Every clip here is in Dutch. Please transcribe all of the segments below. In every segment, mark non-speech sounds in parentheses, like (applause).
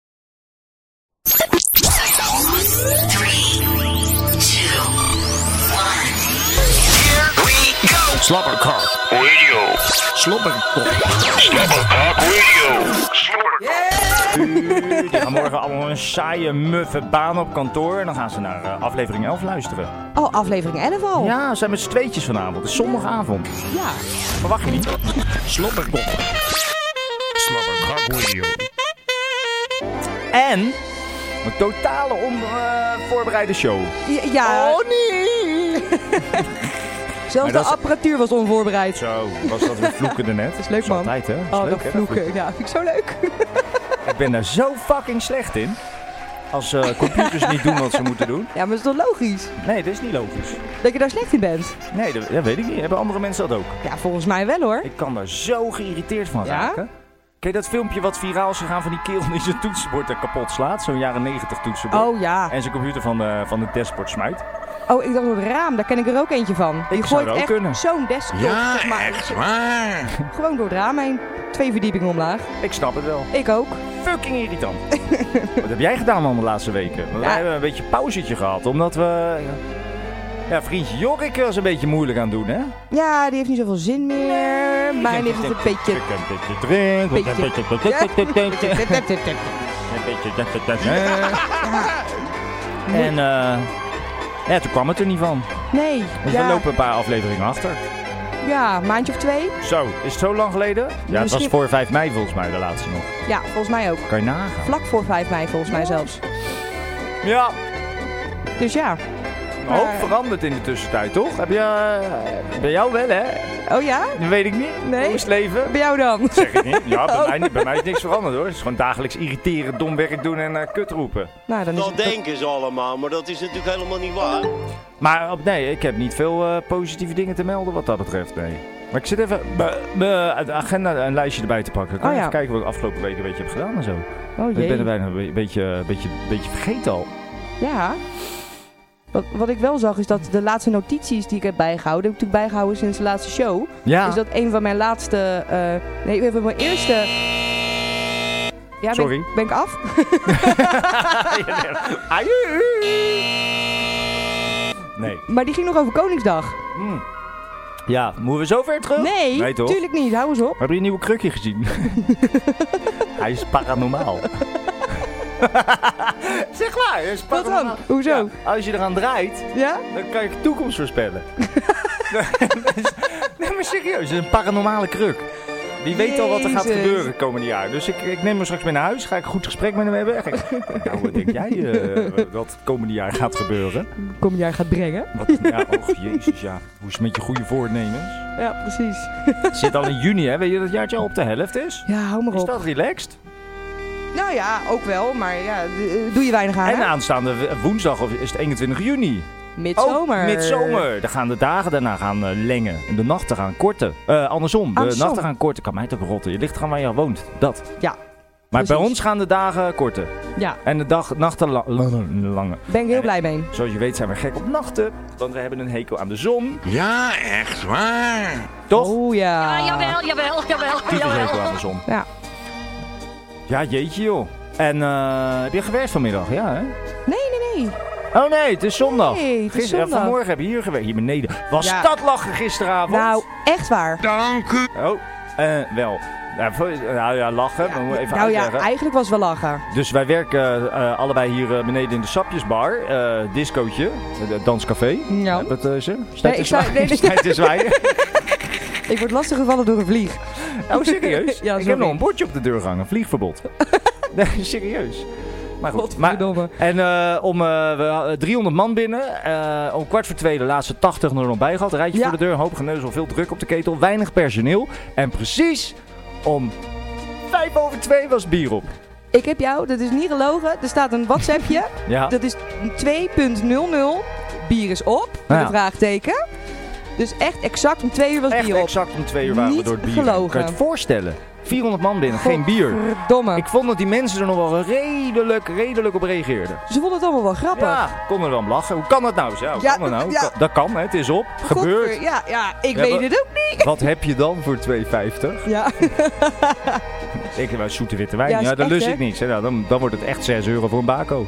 (laughs) Slobberkok. Radio. Slobberkok. Slobberkok Radio. Slobberkok. Die gaan morgen allemaal een saaie, muffe baan op kantoor. En dan gaan ze naar eh, aflevering 11 luisteren. Oh, aflevering 11 al. Ja, ze zijn met z'n tweetjes vanavond. Het is zondagavond. Ja. Verwacht je niet? Slobberkok. Slobberkok Radio. En een totale onvoorbereide show. Ja, ja, nee! (laughs) zelfs dat de is- apparatuur was onvoorbereid. Zo, was dat weer vloeken (laughs) er net. Dat is leuk, man. Altijd, hè? Dat is Oh, leuk, dat hè, vloeken. Ja, vind ik zo leuk. (laughs) Ik ben daar zo fucking slecht in. Als eh, computers niet doen wat ze moeten doen. Ja, maar dat is toch logisch? Nee, dat is niet logisch. Dat je daar slecht in bent? Nee, dat, dat weet ik niet. Hebben andere mensen dat ook? Ja, volgens mij wel hoor. Ik kan daar zo geïrriteerd van Ja? raken. Ken je dat filmpje wat viraal is gegaan van die kerel die zijn toetsenbord er kapot slaat? Zo'n jaren negentig toetsenbord. Oh ja. En zijn computer van de, van de dashboard smijt. Oh, ik dacht door het raam, daar ken ik er ook eentje van. Die Ik zou gooit er ook echt kunnen. zo'n desktop, zeg maar. waar. Gewoon door het raam heen. Twee verdiepingen omlaag. Ik snap het wel. Ik ook. Fucking irritant. wat heb jij gedaan man de laatste weken? We Ja. hebben een beetje pauzetje gehad, omdat we... eh, Ja, vriendje Jorik was een beetje moeilijk aan het doen, hè? (laughs) Ja, die heeft niet zoveel zin meer. Mijn heeft het een beetje... Ik heb een beetje drink, Beetje- een beetje... Ja. (laughs) Een beetje- En eh ja, toen kwam het er niet van. Nee, Dus we ja, lopen een paar afleveringen achter. ja, maandje of twee. Zo, is het zo lang geleden? Ja, het was Misschien- voor 5 mei volgens mij de laatste nog. Ja, volgens mij ook. Kan je nagaan. Vlak voor 5 mei volgens mij zelfs. Ja, Dus ja. een Maar- hoop veranderd in de tussentijd, toch? Heb je... eh, bij jou wel, hè? Oh ja? Dat weet ik niet. Nee. Hoe is het leven? Bij jou dan? Oh. Zeg ik niet. (laughs) Ja, bij, mij, niet. bij mij is niks veranderd, hoor. Het is gewoon dagelijks irriteren, dom werk doen en eh, kut roepen. Nou, dan is Dat het... denken ze allemaal, maar dat is natuurlijk helemaal niet waar. Maar eh, op- nee, ik heb niet veel eh, positieve dingen te melden wat dat betreft, nee. Maar ik zit even be- be- uit de agenda een lijstje erbij te pakken. Kan Oh je ja. even kijken wat ik afgelopen week een beetje heb gedaan en zo. Oh Ik ben er jee. bijna een be- beetje, beetje, beetje vergeten (laughs) al. Ja. Wat, wat ik wel zag is dat de laatste notities die ik heb bijgehouden, heb ik natuurlijk bijgehouden sinds de laatste show, Ja, is dat een van mijn laatste, eh nee, een van mijn eerste... Ja, ben Sorry. Ik, ben ik af? (laughs) Nee. Maar die ging nog over Koningsdag. Ja, moeten we zover terug? Nee, Hmm. Nee, toch? tuurlijk niet. Hou eens op. Heb je een nieuwe krukje gezien? (laughs) hij is paranormaal. zeg maar, hij is Wat dan? Hoezo? Ja, als je eraan draait, Ja? dan kan je de toekomst voorspellen. nee, maar serieus, het is een paranormale kruk. Die weet al wat er gaat Jezus. gebeuren komende jaar. Dus ik, ik neem hem straks mee naar huis, ga ik een goed gesprek met hem hebben. En ga ik- (laughs) nou, wat denk jij eh, wat komende jaar gaat gebeuren? Kom jij gaat brengen. Wat, ja, oh jezus, ja. Hoe is het met je goede voornemens? Ja, precies. Het zit al in juni, hè? Weet je dat het jaartje al op de helft is? Ja, hou maar Is op. dat relaxed? Nou ja, ook wel, maar ja, d- doe je weinig aan. En hè? aanstaande w- woensdag of is het 21 juni. Midzomer. Oh, midzomer. Dan gaan de dagen daarna gaan eh, lengen. En de nachten gaan korten. Eh, andersom, de Andersom. nachten gaan korten. Kan mij toch rotten. Je ligt gaan waar je woont. Dat. Ja, Maar bij precies. ons gaan de dagen korten. Ja, En de dag, nachten la- langer. ben ik heel blij mee. Zoals je weet zijn we gek op nachten. Want we hebben een hekel aan de zon. Ja, echt waar. Toch? Oh ja. Ah, jawel, jawel, jawel, Typisch jawel. hekel aan de zon. Ja. Ja, jeetje joh. En eh, heb je gewerkt vanmiddag? Ja, hè? Nee, nee, nee. Oh nee, het is zondag. Nee, het is Gisteren- zondag. Vanmorgen heb je hier gewerkt, hier beneden. Was Ja. dat lachen gisteravond? Nou, echt waar. Dank u. Oh, eh, wel. Ja, voor- nou ja, lachen. maar moet even nou ja, uitleggen. eigenlijk was wel lachen. dus wij werken eh, allebei hier eh, beneden in de sapjesbar. eh, discootje, eh, danscafé. Ja. Eh, Wat eh, is er? Snijdt ik is zei- wij- (laughs) nee, nee. Snijdt is (laughs) wij. Ik word lastig gevallen door een vlieg. Oh, serieus? (laughs) Ja, ik heb sorry. nog een bordje op de deur hangen. Vliegverbod. nee, serieus. Maar goed. Maar, Godverdomme. en eh, om eh, we, hadden 300 man binnen. eh, om kwart voor twee de laatste 80 er nog bij gehad. Rijtje Ja. voor de deur, een hoop geneuzel, veel druk op de ketel, weinig personeel. En precies om vijf over twee was bier op. Ik heb jou, dat is niet gelogen, er staat een WhatsAppje. (laughs) Ja. Dat is 2.00. Bier is op, met Ja. een vraagteken. Dus echt exact om twee uur was Echt bier op. exact om twee uur waren we Niet door het bier. gelogen. Kan je het voorstellen? 400 man binnen, geen bier. Verdomme. Ik vond dat die mensen er nog wel redelijk, redelijk op reageerden. Ze vonden het allemaal wel grappig. Ja, kon er dan om lachen. Hoe kan dat nou? Zo, Ja, kan dat nou? ja. Kan- Dat kan, hè. het is op. Gebeurt. Godver- Ja, ja, ik Ja, weet maar- het ook niet. Wat heb je dan voor 2,50? Ja. Ik heb wel zoete witte wijn. Ja, Ja, is daar echt, lus hè? ik niks. hè. Nou, dan, dan wordt het echt 6 euro voor een bako.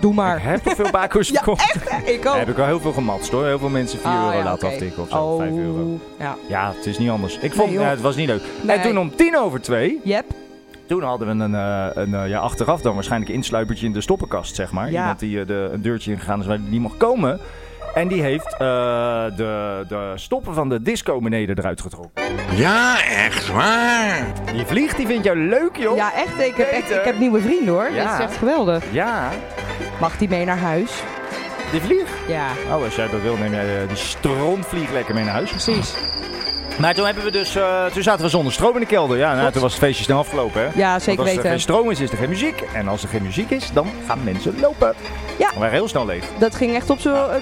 doe maar. Ik heb toch veel bako's (laughs) Ja, verkocht? Ik ook. Heb ik al heel veel gematst hoor. Heel veel mensen 4 Ah, euro ja, laten oké. aftikken of zo. Oh, 5 euro. Ja. Ja, het is niet anders. Ik vond, joh. ja, het was niet leuk. Nee. En toen om tien over twee, Yep. toen hadden we een, eh, een eh, ja, achteraf dan waarschijnlijk een insluipertje in de stoppenkast, zeg maar. Ja. Iemand die eh, de, een deurtje ingegaan is waar die niet mocht komen. En die heeft eh, de, de stoppen van de disco beneden eruit getrokken. Ja, echt waar. Die vliegt, die vindt jou leuk, joh. Ja, echt. Ik heb, echt, Peter. ik heb nieuwe vrienden hoor. Ja. Dat is echt geweldig. Ja, Mag die mee naar huis? die vliegt. Ja. Oh, als jij dat wil, neem jij eh, die strontvlieg lekker mee naar huis. Precies. Maar toen hebben we dus, eh, toen zaten we zonder stroom in de kelder. Ja, nou, toen was het feestje snel afgelopen, hè? Ja, Want zeker als er weten. geen stroom is, is er geen muziek. En als er geen muziek is, dan gaan mensen lopen. Ja. We waren heel snel leeg. Dat ging echt op zo. eh,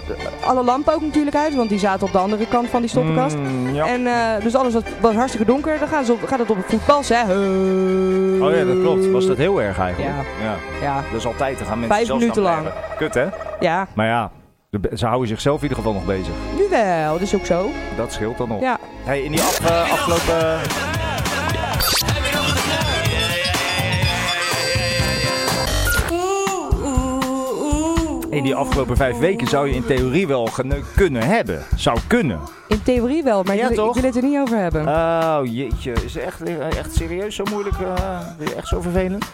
Alle lampen ook natuurlijk uit, want die zaten op de andere kant van die stoppenkast. Mm, ja. En eh, dus alles was, was hartstikke donker. Dan gaan ze op, gaat het op het voetpas, hè? Oh ja, dat klopt. Was dat heel erg eigenlijk. Ja. Ja, Dat is altijd. Dan gaan mensen Vijf zelfs minuten naar lang. blijven. Kut, hè? ja, Maar ja, de- ze houden zichzelf in ieder geval nog bezig. nu wel. Dat is ook zo. Dat scheelt dan nog. Ja. Hey, in die af, eh, afgelopen... In die afgelopen vijf weken zou je in theorie wel geneukt kunnen hebben. Zou kunnen. In theorie wel, maar Ja, ik, wil- ik toch? wil het er niet over hebben. Oh, jeetje. Is het echt, echt serieus zo moeilijk? eh, echt zo vervelend?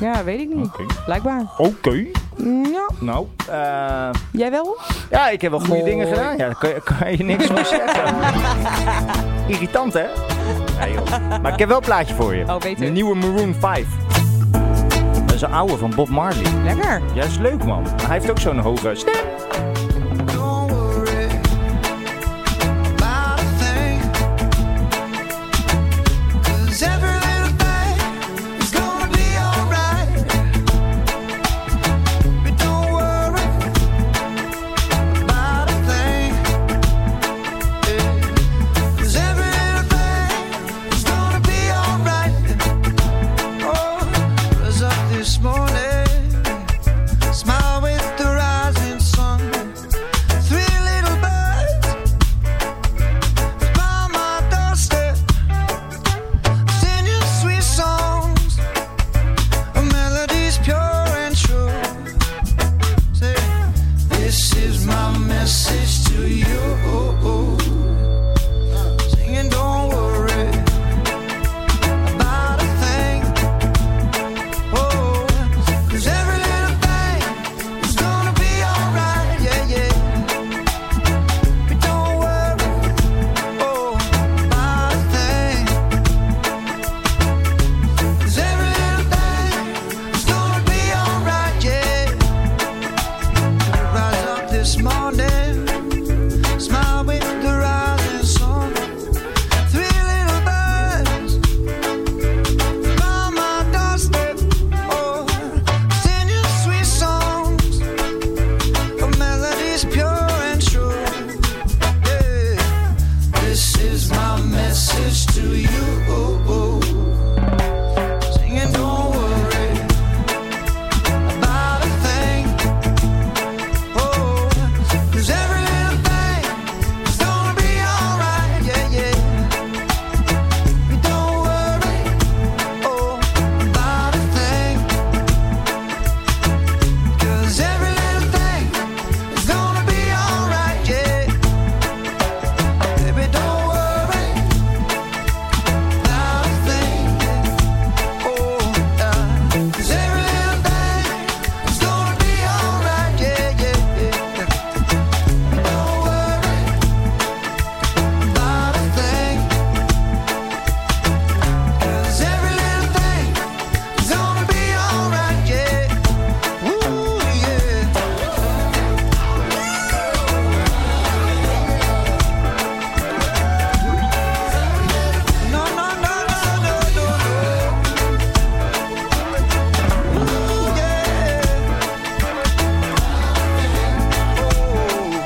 ja, weet ik niet. Oké. Blijkbaar. Oké. Ja, Nou, eh, jij wel? ja, ik heb wel goede Mooi. dingen gedaan. Ja, daar kan, je- kan je niks van (laughs) zeggen. Irritant, hè? Nee, joh. Maar ik heb wel een plaatje voor je. Oh, beter. De nieuwe Maroon 5. Dat is een oude van Bob Marley. Lekker. Ja, is leuk, man. Maar Hij heeft ook zo'n hoge stem. Oh, This morning, smile with the rising sun. Three little birds by my doorstep, singing sweet songs, melodies pure and true. Say, this is my message to you. Singing, don't worry about a thing. Oh, 'cause every little thing is gonna be alright. Yeah, yeah. But don't worry. Oh, about a thing. 'Cause every little thing is gonna be alright. Yeah. I rise up this morning, smile with the rising sun. Three little birds by my doorstep. Oh, singing sweet songs of melodies pure and true. Yeah. This is my message to you. Singing, don't worry about a thing. Oh, 'cause every little thing is gonna be alright. Yeah, yeah. Don't worry, oh, about a thing. 'Cause every little thing is gonna be alright. Yeah. Baby, don't worry about a thing. Oh, 'cause every little thing is gonna be alright. Yeah, yeah, yeah. Don't worry about a thing. 'Cause every little thing is gonna be alright. Yeah. Ooh, yeah. No, no, no, no, no, no, no. Ooh, yeah. Oh.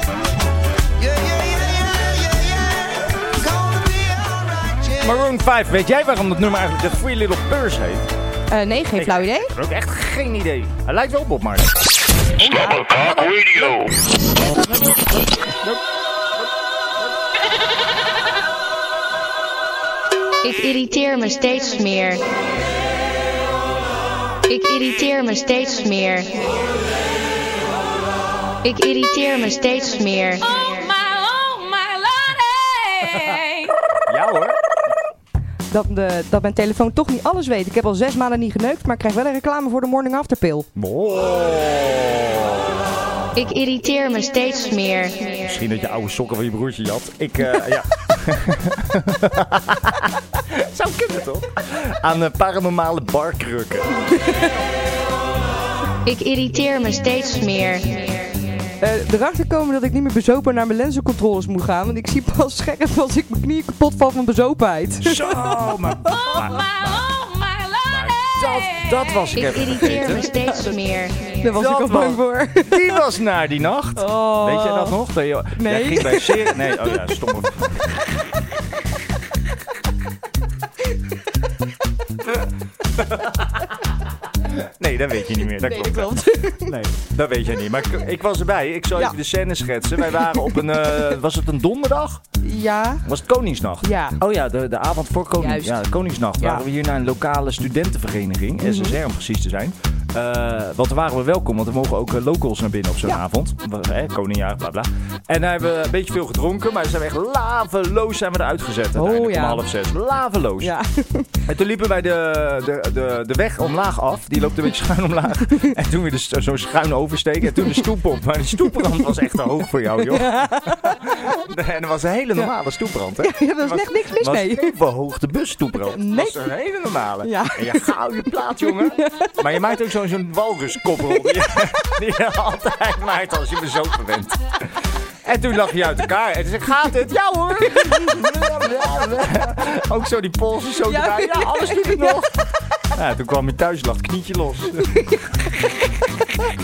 Yeah, yeah, yeah, yeah, yeah, yeah. It's gonna be alright, yeah. Maroon 5, weet jij waarom dat nummer eigenlijk de Free Little Purse heet? Ik Eh, nee, geen flauw idee. heb ook echt geen idee. Hij lijkt wel op Bob Marley. Slobberkok Radio. Ik irriteer me steeds meer. Ik irriteer me steeds meer. Ik irriteer me steeds meer. Oh my, oh my lordy. Ja hoor. Dat, de, dat mijn telefoon toch niet alles weet. Ik heb al zes maanden niet geneukt, maar ik krijg wel een reclame voor de morning after pill. Oh. Ik irriteer me steeds meer. Misschien dat je oude sokken van je broertje jat. Ik, eh, ja. (laughs) Zou kunnen toch? Aan eh, paranormale barkrukken. Ik irriteer me steeds meer. Eh, erachter komen dat ik niet meer bezopen naar mijn lenzencontroles moet gaan. Want ik zie pas scherp als ik mijn knieën kapot val van bezopenheid. Zo, maar, maar- Oh my, oh my lordy. dat, dat was ik Ik even irriteer me vergeten. steeds meer. Daar was Dat ik al bang was- voor. Die was naar die nacht. Oh. Weet jij dat nog? Dat je- Nee. Jij ging bij Sir- Nee, oh ja, stomme. Nee, dat weet je niet meer. Dat Nee, dat klopt. klopt. (laughs) Nee, dat weet jij niet. Maar ik, ik was erbij. Ik zal Ja. even de scène schetsen. Wij waren op een... eh, was het een donderdag? Ja. Was het Koningsnacht? Ja. Oh ja, de, de avond voor koning, Juist. Ja, Koningsnacht Ja. Mhm. waren we hier naar een lokale studentenvereniging. SSR om precies te zijn. Eh, want daar waren we welkom, want we mogen ook eh, locals naar binnen op zo'n Ja. avond. We- hè, koningjaar, bla bla. En daar hebben we een beetje veel gedronken, maar zijn we echt laveloos zijn we eruit gezet. uiteindelijk Oh, ja. Om half zes. Laveloos. Ja. (laughs) En toen liepen wij de, de, de, de weg omlaag af. Die loopt een beetje schuin (laughs) omlaag. En toen weer dus zo'n schuin oversteken. En toen de stoep op. Maar die stoeprand was echt te hoog voor jou, joh. (laughs) En dat was een hele normale stoeprand, hè? Ja, daar is echt niks mis was mee. een verhoogde busstoeprand. Nee. Dat was een hele normale. Ja. En je gauw je plaat, (laughs) jongen. Maar je maakt ook zo'n zo'n walruskoprol. Die, die je altijd maakt als je bezopen bent. En toen lag je uit elkaar. En toen zei ik, gaat het? Ja (laughs) hoor. ook zo die polsen zo Ja. erbij. Ja, alles doet (laughs) het nog. Ja, toen kwam je thuis, lag het knietje los.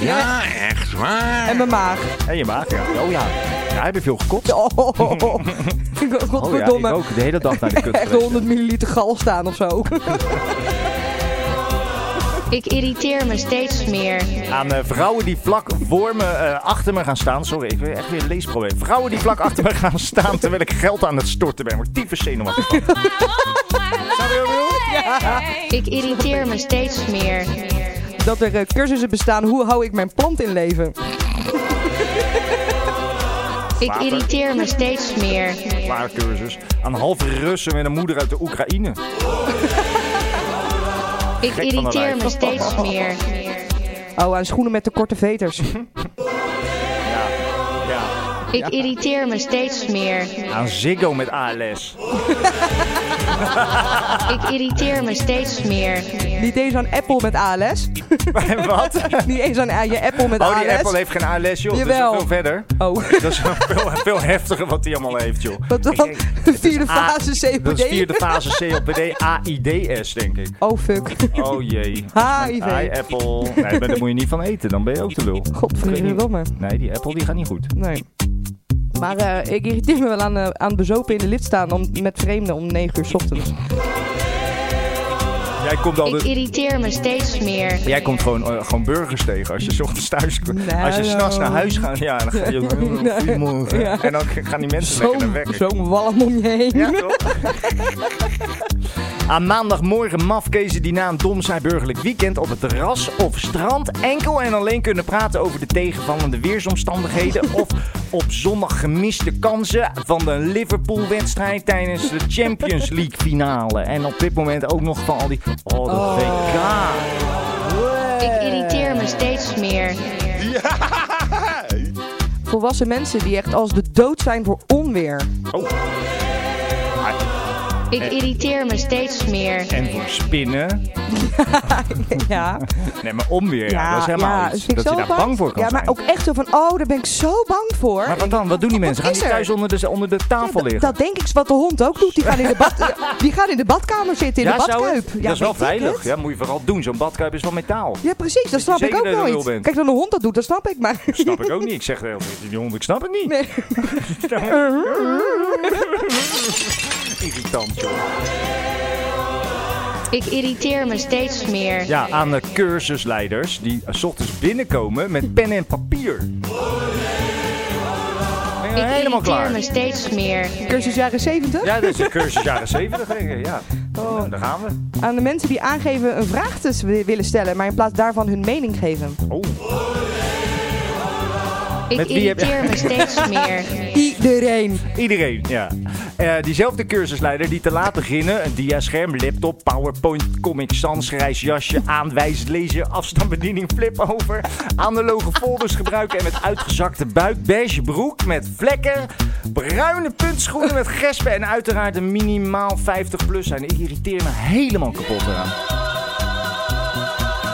Ja, echt waar. En mijn maag. En je maag, ja. Oh ja. Ja, heb je veel gekotst? Oh, oh, (laughs) oh, oh. Ik was Oh ja, ik godverdomme. ook. De hele dag naar de kut (laughs) echt geweest. 100 milliliter gal staan of (laughs) zo. Ik irriteer me steeds meer. Aan eh, vrouwen die vlak voor me eh, achter me gaan staan. Sorry, ik heb echt weer een leesprobleem. Vrouwen die vlak achter me gaan staan terwijl ik geld aan het storten ben. Wordt tyfus zenuwachtig. van. Oh my lordy. Ik irriteer me steeds meer. Dat er eh, cursussen bestaan, hoe hou ik mijn plant in leven? Ik irriteer me steeds meer. Waar cursus. Aan halve Russen met een moeder uit de Oekraïne. Ik irriteer me steeds meer. Oh, aan schoenen met te korte (laughs) veters. Ja. Ik irriteer me steeds meer. Aan Ziggo met ALS. Ik irriteer me steeds meer. Niet eens aan Apple met ALS. Wat? (laughs) Niet eens aan eh, je Apple met Oh, ALS. die Apple heeft geen ALS, joh. Jawel. Dat is veel verder. Oh, (laughs) Dat is veel, veel heftiger wat die allemaal heeft, joh. wat Ik dan? denk, Vierde A- fase CPD. Dat is vierde fase COPD AIDS, denk ik. Oh, fuck. (laughs) Oh jee. HIV. Hi, Apple. Nee, maar daar moet je niet van eten. Dan ben je ook te lul. Godverdomme. Nee, die Apple die gaat niet goed. Nee. Maar eh, ik irriteer me wel aan, eh, aan bezopen in de lift staan om, met vreemden om 9 uur 's ochtends. Jij komt Ik altijd... irriteer me steeds meer. Jij komt gewoon, eh, gewoon burgers tegen als je 's ochtends thuis komt. Nou. Als je s'nachts naar huis gaat, ja, dan (laughs) ga je ook... Goedemorgen. En dan gaan die mensen lekker naar Zo'n werk. zo'n walm om je heen. Ja, toch? (laughs) Aan maandagmorgen mafkezen die na een dom saai burgerlijk weekend op het terras of strand enkel en alleen kunnen praten over de tegenvallende weersomstandigheden of op zondag gemiste kansen van de Liverpool-wedstrijd tijdens de Champions League finale. En op dit moment ook nog van al die... Oh, de WK. Ik irriteer me steeds meer. Volwassen mensen die echt als de dood zijn voor onweer. Ik irriteer me steeds meer. En voor spinnen. (laughs) Ja, Nee, maar onweer. Ja, dat is helemaal ja, iets. vind Dat ik je zo daar bang voor kan Ja, maar zijn. ook echt zo van, oh, daar ben ik zo bang voor. Maar wat dan? Wat doen die Wat mensen? Gaan is die er? thuis onder de, onder de Ja, tafel dat- liggen? dat denk ik is wat de hond ook doet. Die gaan in de, (laughs) bad, eh, die gaan in de badkamer zitten, in de zou badkuip. het? dat is wel weet ik veilig. het. Ja, moet je vooral doen. Zo'n badkuip is van metaal. Ja, precies. Dat snap ik zeker ook dat je een lul nooit. bent? Kijk, dat een hond dat doet, dat snap ik. Maar snap ik ook niet. Ik zeg de hele tijd, die hond, ik snap het niet. Nee. (laughs) Irritant, joh. Ik irriteer me steeds meer. Ja, aan de cursusleiders die s ochtends binnenkomen met pen en papier. Ben je Ik helemaal irriteer klaar? me steeds meer. cursus jaren 70. Ja, dat is een (laughs) cursus jaren 70, denk ik. Ja. Oh. Nou, daar gaan we. Aan de mensen die aangeven een vraag te s- willen stellen, maar in plaats daarvan hun mening geven. Oh. Ik Met wie heb je- irriteer me (laughs) steeds meer. Iedereen. Iedereen, ja. Eh, diezelfde cursusleider die te laat beginnen, een dia-scherm, laptop, powerpoint, comic sans, grijs jasje, aanwijs, lezen, afstandsbediening, flip over, analoge folders gebruiken en met uitgezakte buik, beige broek met vlekken, bruine puntschoenen met gespen en uiteraard een minimaal 50 plus zijn. Ik irriteer me helemaal kapot eraan.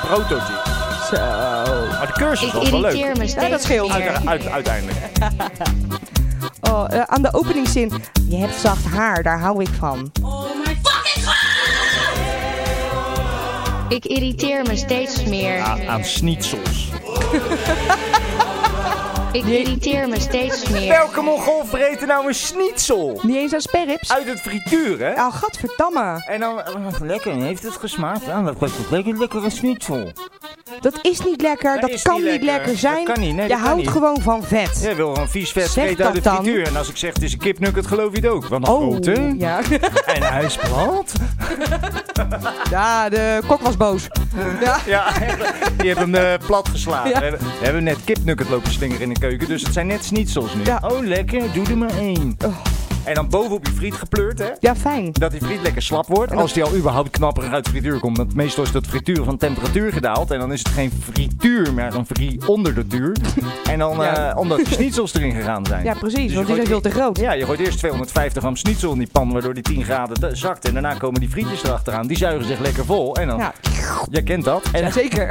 Prototype. Zo. Maar de cursus Ik was wel leuk. irriteer me steeds dat scheelt. meer. Uitera- uit- uiteindelijk. Oh, eh, aan de openingszin. Je hebt zacht haar, daar hou ik van. Ik irriteer me steeds meer. Aan, aan schnitzels. Ik irriteer me steeds meer. Welke mongool vreet er nou een schnitzel? Niet eens aan sperrips? Uit het frituur, hè? Oh, gadverdamme. En dan, eh, lekker, heeft het gesmaakt? Ah, dat lijkt lekker, lekkere schnitzel. Dat is niet lekker, Dat dat, is kan niet niet lekker. lekker, zijn. Dat kan niet, nee, je dat kan houdt niet. gewoon van (laughs) vet. Jij wil gewoon vies vet Zeg vreten uit dat de dan. frituur. En als ik zeg het is een kipnugget, geloof je het ook. Want Oh, grote ja. en hij is plat. ja, de kok was boos. Ja. (laughs) Ja, die hebben hem eh, plat geslagen. Ja. We, hebben, we hebben net kipnugget lopen slingeren in de keuken, dus het zijn net schnitzels nu. Ja. Oh. Oh, lekker, doe er maar één. En dan bovenop je friet gepleurd, hè? Ja, fijn. Dat die friet lekker slap wordt. Als die al überhaupt knapperig uit de frituur komt. Want meestal is dat frituur van temperatuur gedaald. En dan is het geen frituur, maar een frie onder de (laughs) tuur. En dan Ja. eh, omdat de schnitzels erin gegaan zijn. Ja, precies, Dus want je die zijn veel gooit- te groot. Ja, je gooit eerst 250 gram schnitzel in die pan, waardoor die 10 graden da- zakt. En daarna komen die frietjes erachteraan. Die zuigen zich lekker vol. En dan, Ja, jij kent dat. En, zeker.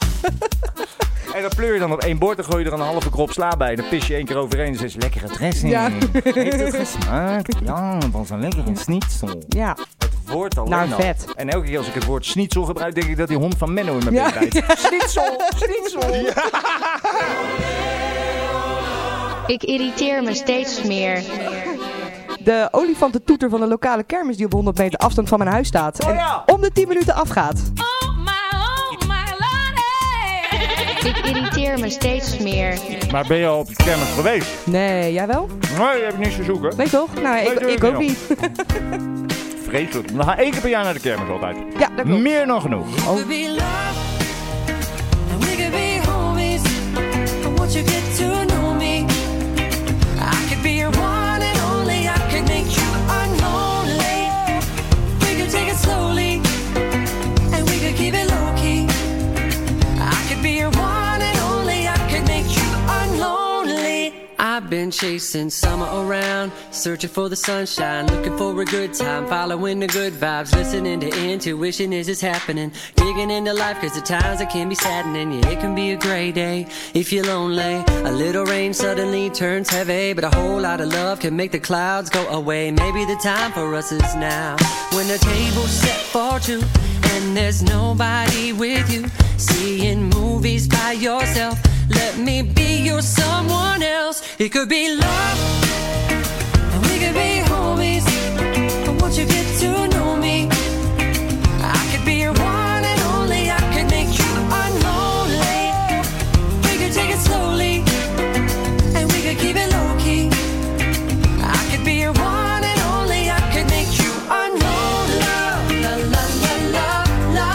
(laughs) en dan pleur je dan op één bord en gooi je er een halve krop sla bij. Dan pis je één keer overheen en zeg je, lekkere dressing. Ja. (laughs) Heeft het gesmaakt? Ja, het was een lekkere schnitzel. Ja, woord alleen Nou, al. vet. En elke keer als ik het woord schnitzel gebruik, denk ik dat die hond van Menno in mijn Ja. bek (laughs) bijt. Schnitzel, schnitzel. Ik irriteer me steeds meer. de olifantentoeter van de lokale kermis die op 100 meter afstand van mijn huis staat. Oh ja. En om de 10 minuten afgaat. Oh my, oh my lordy. Ik irriteer me steeds meer. Maar ben je al op de kermis geweest? Nee, jij wel? Nee, heb ik niks te zoeken. Nee toch? Nou, ik, doe ik ik ook niet, niet. Vreselijk. We gaan één keer per jaar naar de kermis altijd. Ja, dat klopt. Meer dan genoeg. could be love, and we could be homies. And once you get to know me, I could be your one and only. I could make you unholy. We could take it slowly, and we could keep it low key. I could be your one and only. I could make you unlonely. I've been chasing summer around, searching for the sunshine, looking for a good time, following the good vibes, listening to intuition as it's happening, digging into life cause at times it can be saddening, yeah it can be a gray day if you're lonely, a little rain suddenly turns heavy, but a whole lot of love can make the clouds go away, maybe the time for us is now, when the table's set for two, and there's nobody with you, seeing movies by yourself, let me be your someone else. It could be love, and we could be homies. But once you get to know me, I could be your one and only. I could make you unlonely. We could take it slowly, and we could keep it low key. I could be your one and only. I could make you unlonely. La la la la la.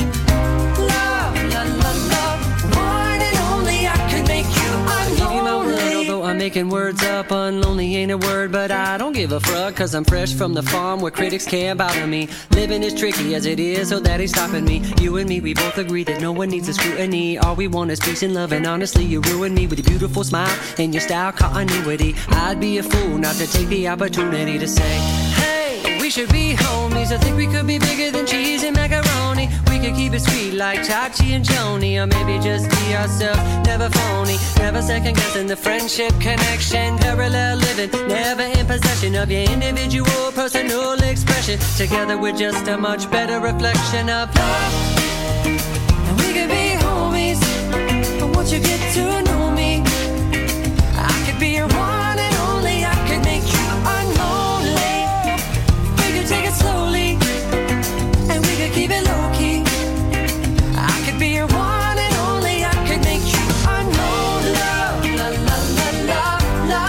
Love, love, love, love. One and only I could make you unlonely. Although I'm making words up, unlonely ain't a word, but I don't give a fuck, cause I'm fresh from the farm where critics can't bother me. Living is tricky as it is, so that ain't stopping me. You and me, we both agree that no one needs a scrutiny. All we want is peace and love, and honestly, you ruined me with your beautiful smile and your style continuity. I'd be a fool not to take the opportunity to say, Hey, we should be homies. I think we could be bigger than cheese and macaroni. We could keep it sweet like Chachi and Joni, or maybe just be ourselves. Never phony, never second guessing the friendship connection. Parallel living, never in possession of your individual personal expression. Together we're just a much better reflection of love. And we could be homies, but once you get to know me, I could be your one and only. I could make you unlonely. We could take it slowly, and we could keep it low key. I could be your one and only. I could make you unlonely. Love, la la la la la.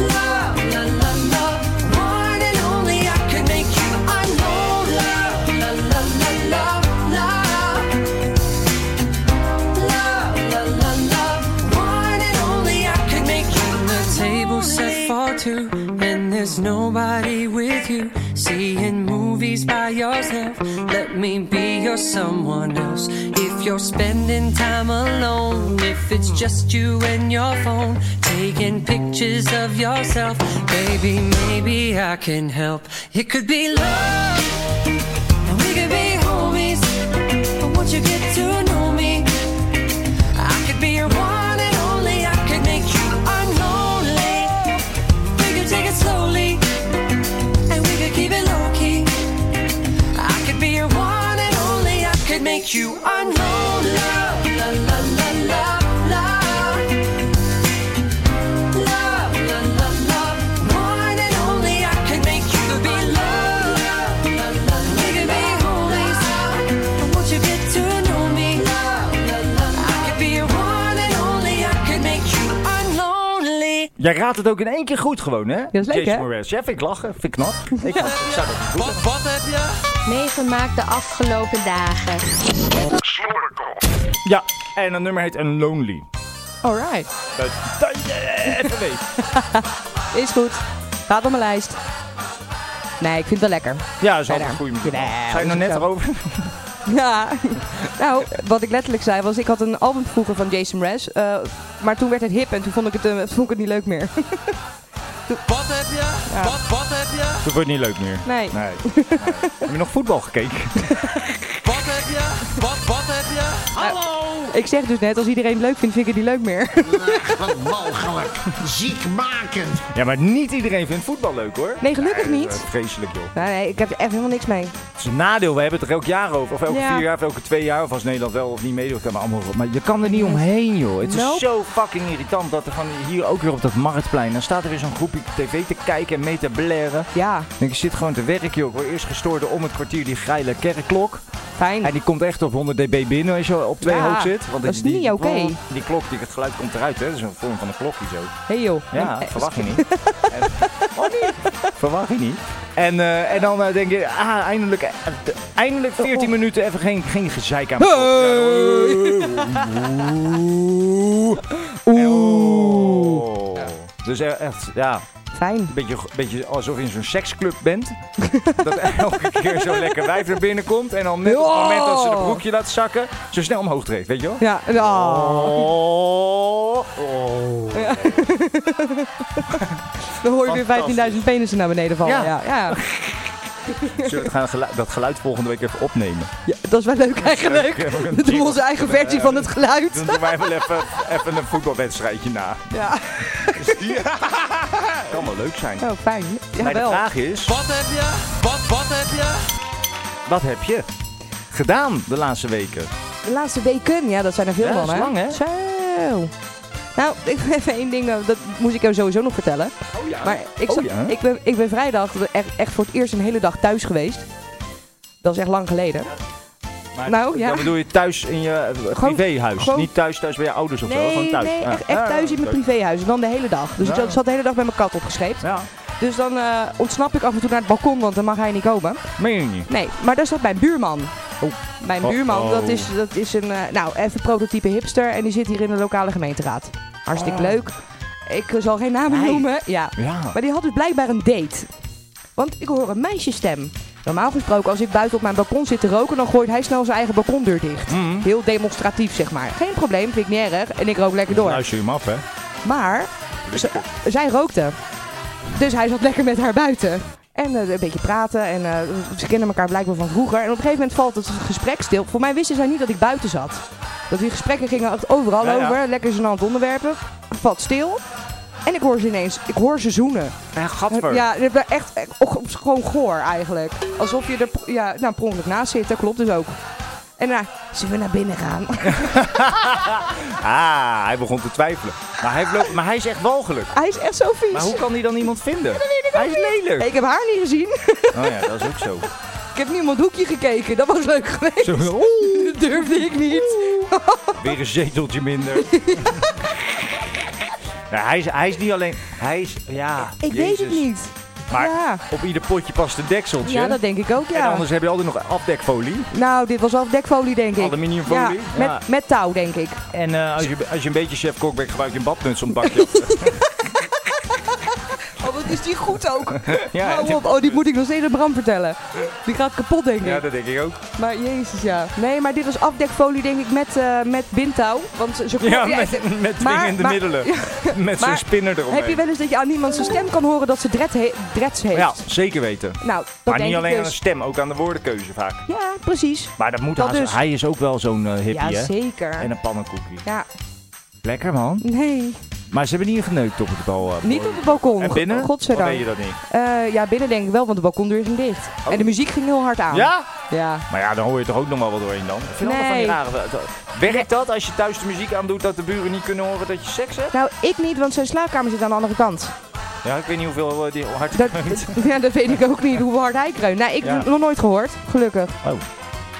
Love, la la la. One and only. I could make you unlonely. Love, la la la la la. nobody with you. Seeing movies by yourself. Let me be your someone else. If you're spending time alone, if it's just you and your phone, taking pictures of yourself, baby, maybe I can help. It could be love. and we could be homies. But once you get to know me, I could be your one and only. I could make you unlonely. We could take it slowly, and we could keep it low key. I could be your one and only. I could make you unlonely. La la la la la. Love, la, la, love, one and only. I could make you be love. We could be homies. But once you get to know me, I could be your one and only. I could make you unlonely. Jij raadt het ook in één keer goed gewoon, hè? Ja, is leuk, hè? Ja, vind ik lachen. Vind ik knap. Ik zou dat doen. Meegemaakt de afgelopen dagen. Ja, en een nummer heet een Lonely. Alright. Dat- dat- eh, Even weten. (laughs) Is goed. Gaat op mijn lijst. Nee, ik vind het wel lekker. Ja, dat is altijd Jawel. een goede muziek. Jawel, Zijn we er dat is net wel- over? (laughs) Ja, nou, wat ik letterlijk zei was, ik had een album vroeger van Jason Mraz, eh, maar toen werd het hip en toen vond ik het, eh, vond ik het niet leuk meer. (laughs) Wat heb je? Ja. Wat, wat heb je? Dat wordt niet leuk meer. Nee. Nee. Heb je nog voetbal gekeken? Wat heb je? Wat, wat heb je? Ik zeg dus net, als iedereen het leuk vindt, vind ik het niet leuk meer. (laughs) Wat walgelijk. Ziekmakend. Ja, maar niet iedereen vindt voetbal leuk, hoor. Nee, gelukkig Nee, niet. eh, Vreselijk, joh. Nee, nee, ik heb er echt helemaal niks mee. Het is een nadeel. We hebben het er elk jaar over. Of elke Ja. vier jaar, of elke twee jaar. Of als Nederland wel of niet meedoet. kan Maar, allemaal, maar je kan er niet omheen, joh. Het is Nope. zo fucking irritant dat er van hier ook weer op dat marktplein... Dan staat er weer zo'n groepje tv te kijken en mee te blaren. Ja, Ik denk, ik zit gewoon te werk, joh. Ik word eerst gestoord door om het kwartier die geile kerkklok. fijn. En die komt echt op 100 dB binnen als je op twee Ja, hoog zit. dat die- is niet die- oké. Die klok, die, het geluid komt eruit, hè. Dat is een vorm van een klokje zo. Hey joh. Ja, En, eh, verwacht je niet. (laughs) En- oh nee, verwacht je niet. En, eh, en dan eh, denk je, ah, eindelijk, eh, de- eindelijk 14 minuten even geen, geen gezeik aan mijn Oeh. Dus e- echt, ja, Fijn. een beetje, beetje alsof je in zo'n seksclub bent. (laughs) dat elke keer zo'n lekker wijf naar binnen komt. En dan net op het moment dat ze de broekje laat zakken, zo snel omhoog treedt, weet je wel? Oh. Ja, en- ah, Oh. dan hoor je weer 15.000 penissen naar beneden vallen. Ja. Ja. Ja, ja. Zullen we het gaan gelu- dat geluid volgende week even opnemen? dat is wel leuk (laughs) eigenlijk. Oké, we gaan Dat doen we onze eigen versie van het Dan geluid. eh, doen wij wel even, even een voetbalwedstrijdje na. Ja. Kan wel leuk zijn. Oh, fijn. Ja, maar de wel. vraag is, Wat heb je? Wat, wat heb je? wat heb je gedaan de laatste weken? De laatste weken, ja, dat zijn er veel Ja, van, dat is hè? lang, hè? Zo. Nou, (laughs) ik heb even één ding, dat moest ik jou sowieso nog vertellen. Oh ja. Maar ik, Oh zat- ja. ik, ben, ik ben vrijdag echt, echt voor het eerst een hele dag thuis geweest. Dat is echt lang geleden. nou, ja. Dan bedoel je thuis in je eh, Gewoon- privéhuis. gewoon- Niet thuis thuis bij je ouders of zo. Gewoon Nee, thuis. Ah. nee, Ja. echt, echt Ja, thuis in mijn leuk. privéhuis. En dan de hele dag. Dus ik Ja. zat- zat de hele dag met mijn kat opgeschreven. Ja, Dus dan eh, ontsnap ik af en toe naar het balkon, want dan mag hij niet komen. meen je niet? Nee, maar daar zat mijn buurman. Oh. Mijn Oh, buurman, oh. dat is, dat is een, eh, nou, even prototype hipster. En die zit hier in de lokale gemeenteraad. Hartstikke leuk. Ik eh, zal geen namen Nee. noemen. Ja. Oh. Ja. Maar die had dus blijkbaar een date. Want ik hoor een meisjesstem. Normaal gesproken, als ik buiten op mijn balkon zit te roken, dan gooit hij snel zijn eigen balkondeur dicht. Mhm. Heel demonstratief, zeg maar. Geen probleem, vind ik niet erg. En ik rook lekker door. Luister Nou, je hem af, hè? Maar ze- zij rookte. Dus hij zat lekker met haar buiten. En eh, een beetje praten. En eh, ze kennen elkaar blijkbaar van vroeger. En op een gegeven moment valt het gesprek stil. Voor mij wisten zij niet dat ik buiten zat. Dat die gesprekken gingen echt overal Ja, ja. over. Lekker gênant onderwerpen. Valt stil. En ik hoor ze ineens. Ik hoor ze zoenen. Ja, gadver. Ja, dit werd echt, echt och, gewoon goor eigenlijk. Alsof je er ja, nou, per ongeluk naast zit. Dat klopt dus ook. En daarna, zullen we naar binnen gaan? (laughs) Ah, hij begon te twijfelen. Maar hij, heeft lo- maar hij is echt walgelijk. hij is echt zo vies. Maar hoe kan hij dan iemand vinden? weet ik Hij ook is lelijk. Ik heb haar niet gezien. Oh ja, dat is ook zo. Ik heb niet om het hoekje gekeken. Dat was leuk geweest. Zo, oeh, (laughs) Dat durfde ik niet. weer een zeteltje minder. Nou, hij, is, hij is niet alleen... Hij is... Ja, (laughs) Ik weet het Jezus. niet. Maar Ja. op ieder potje past een dekseltje. Ja, dat denk ik ook, En ja. anders heb je altijd nog afdekfolie. Nou, dit was wel dekfolie, denk ik. Aluminiumfolie? Ja, Ja. Met, met touw, denk (laughs) ik. En (laughs) eh, als, je, als je een beetje chef kok bent, gebruik je een badmuts om het bakje af te- Oh, wat wat is die goed ook. Ja, Hou dit- op. Oh, die moet ik nog steeds aan Bram vertellen. Die gaat kapot, denk ik. Ja, dat denk ik ook. Maar jezus, ja. Nee, maar dit was afdekfolie, denk ik, met, eh met bindtouw. Want ze, ze Ja, ja, met, met maar- dwingende maar- middelen. (laughs) met zo'n maar spinner eromheen. Heb je wel eens dat je aan iemand zijn stem kan horen dat ze dread he- dreads heeft? Ja, zeker weten. Nou, dat maar denk niet ik alleen aan de dus. stem, ook aan de woordenkeuze vaak. Ja, precies. Maar dat moet Dat haast- dus. Hij is ook wel zo'n eh, hippie, ja, hè? zeker. En een pannenkoekje. Ja, Lekker, man. nee. Maar ze hebben niet geneukt op het bal. eh, Niet op het balkon. En binnen? Of Godzijdank. weet je dat niet? Oh. Eh, ja, binnen denk ik wel, want de balkondeur ging dicht. En de muziek ging heel hard aan. Ja? Ja. Maar ja, dan hoor je toch ook nog wel wat doorheen dan? Ik vind altijd van die Nee. rare- dat- Werkt dat als je thuis de muziek aandoet dat de buren niet kunnen horen dat je seks hebt? Nou, ik niet, want zijn slaapkamer zit aan de andere kant. (laughs) Ja, ik weet niet hoeveel eh, die hard Dat, kreunt. (laughs) ja, dat weet ik ook niet, hoe hard hij kreunt. Nee, ik Ja. heb het nog nooit gehoord, gelukkig. Oh.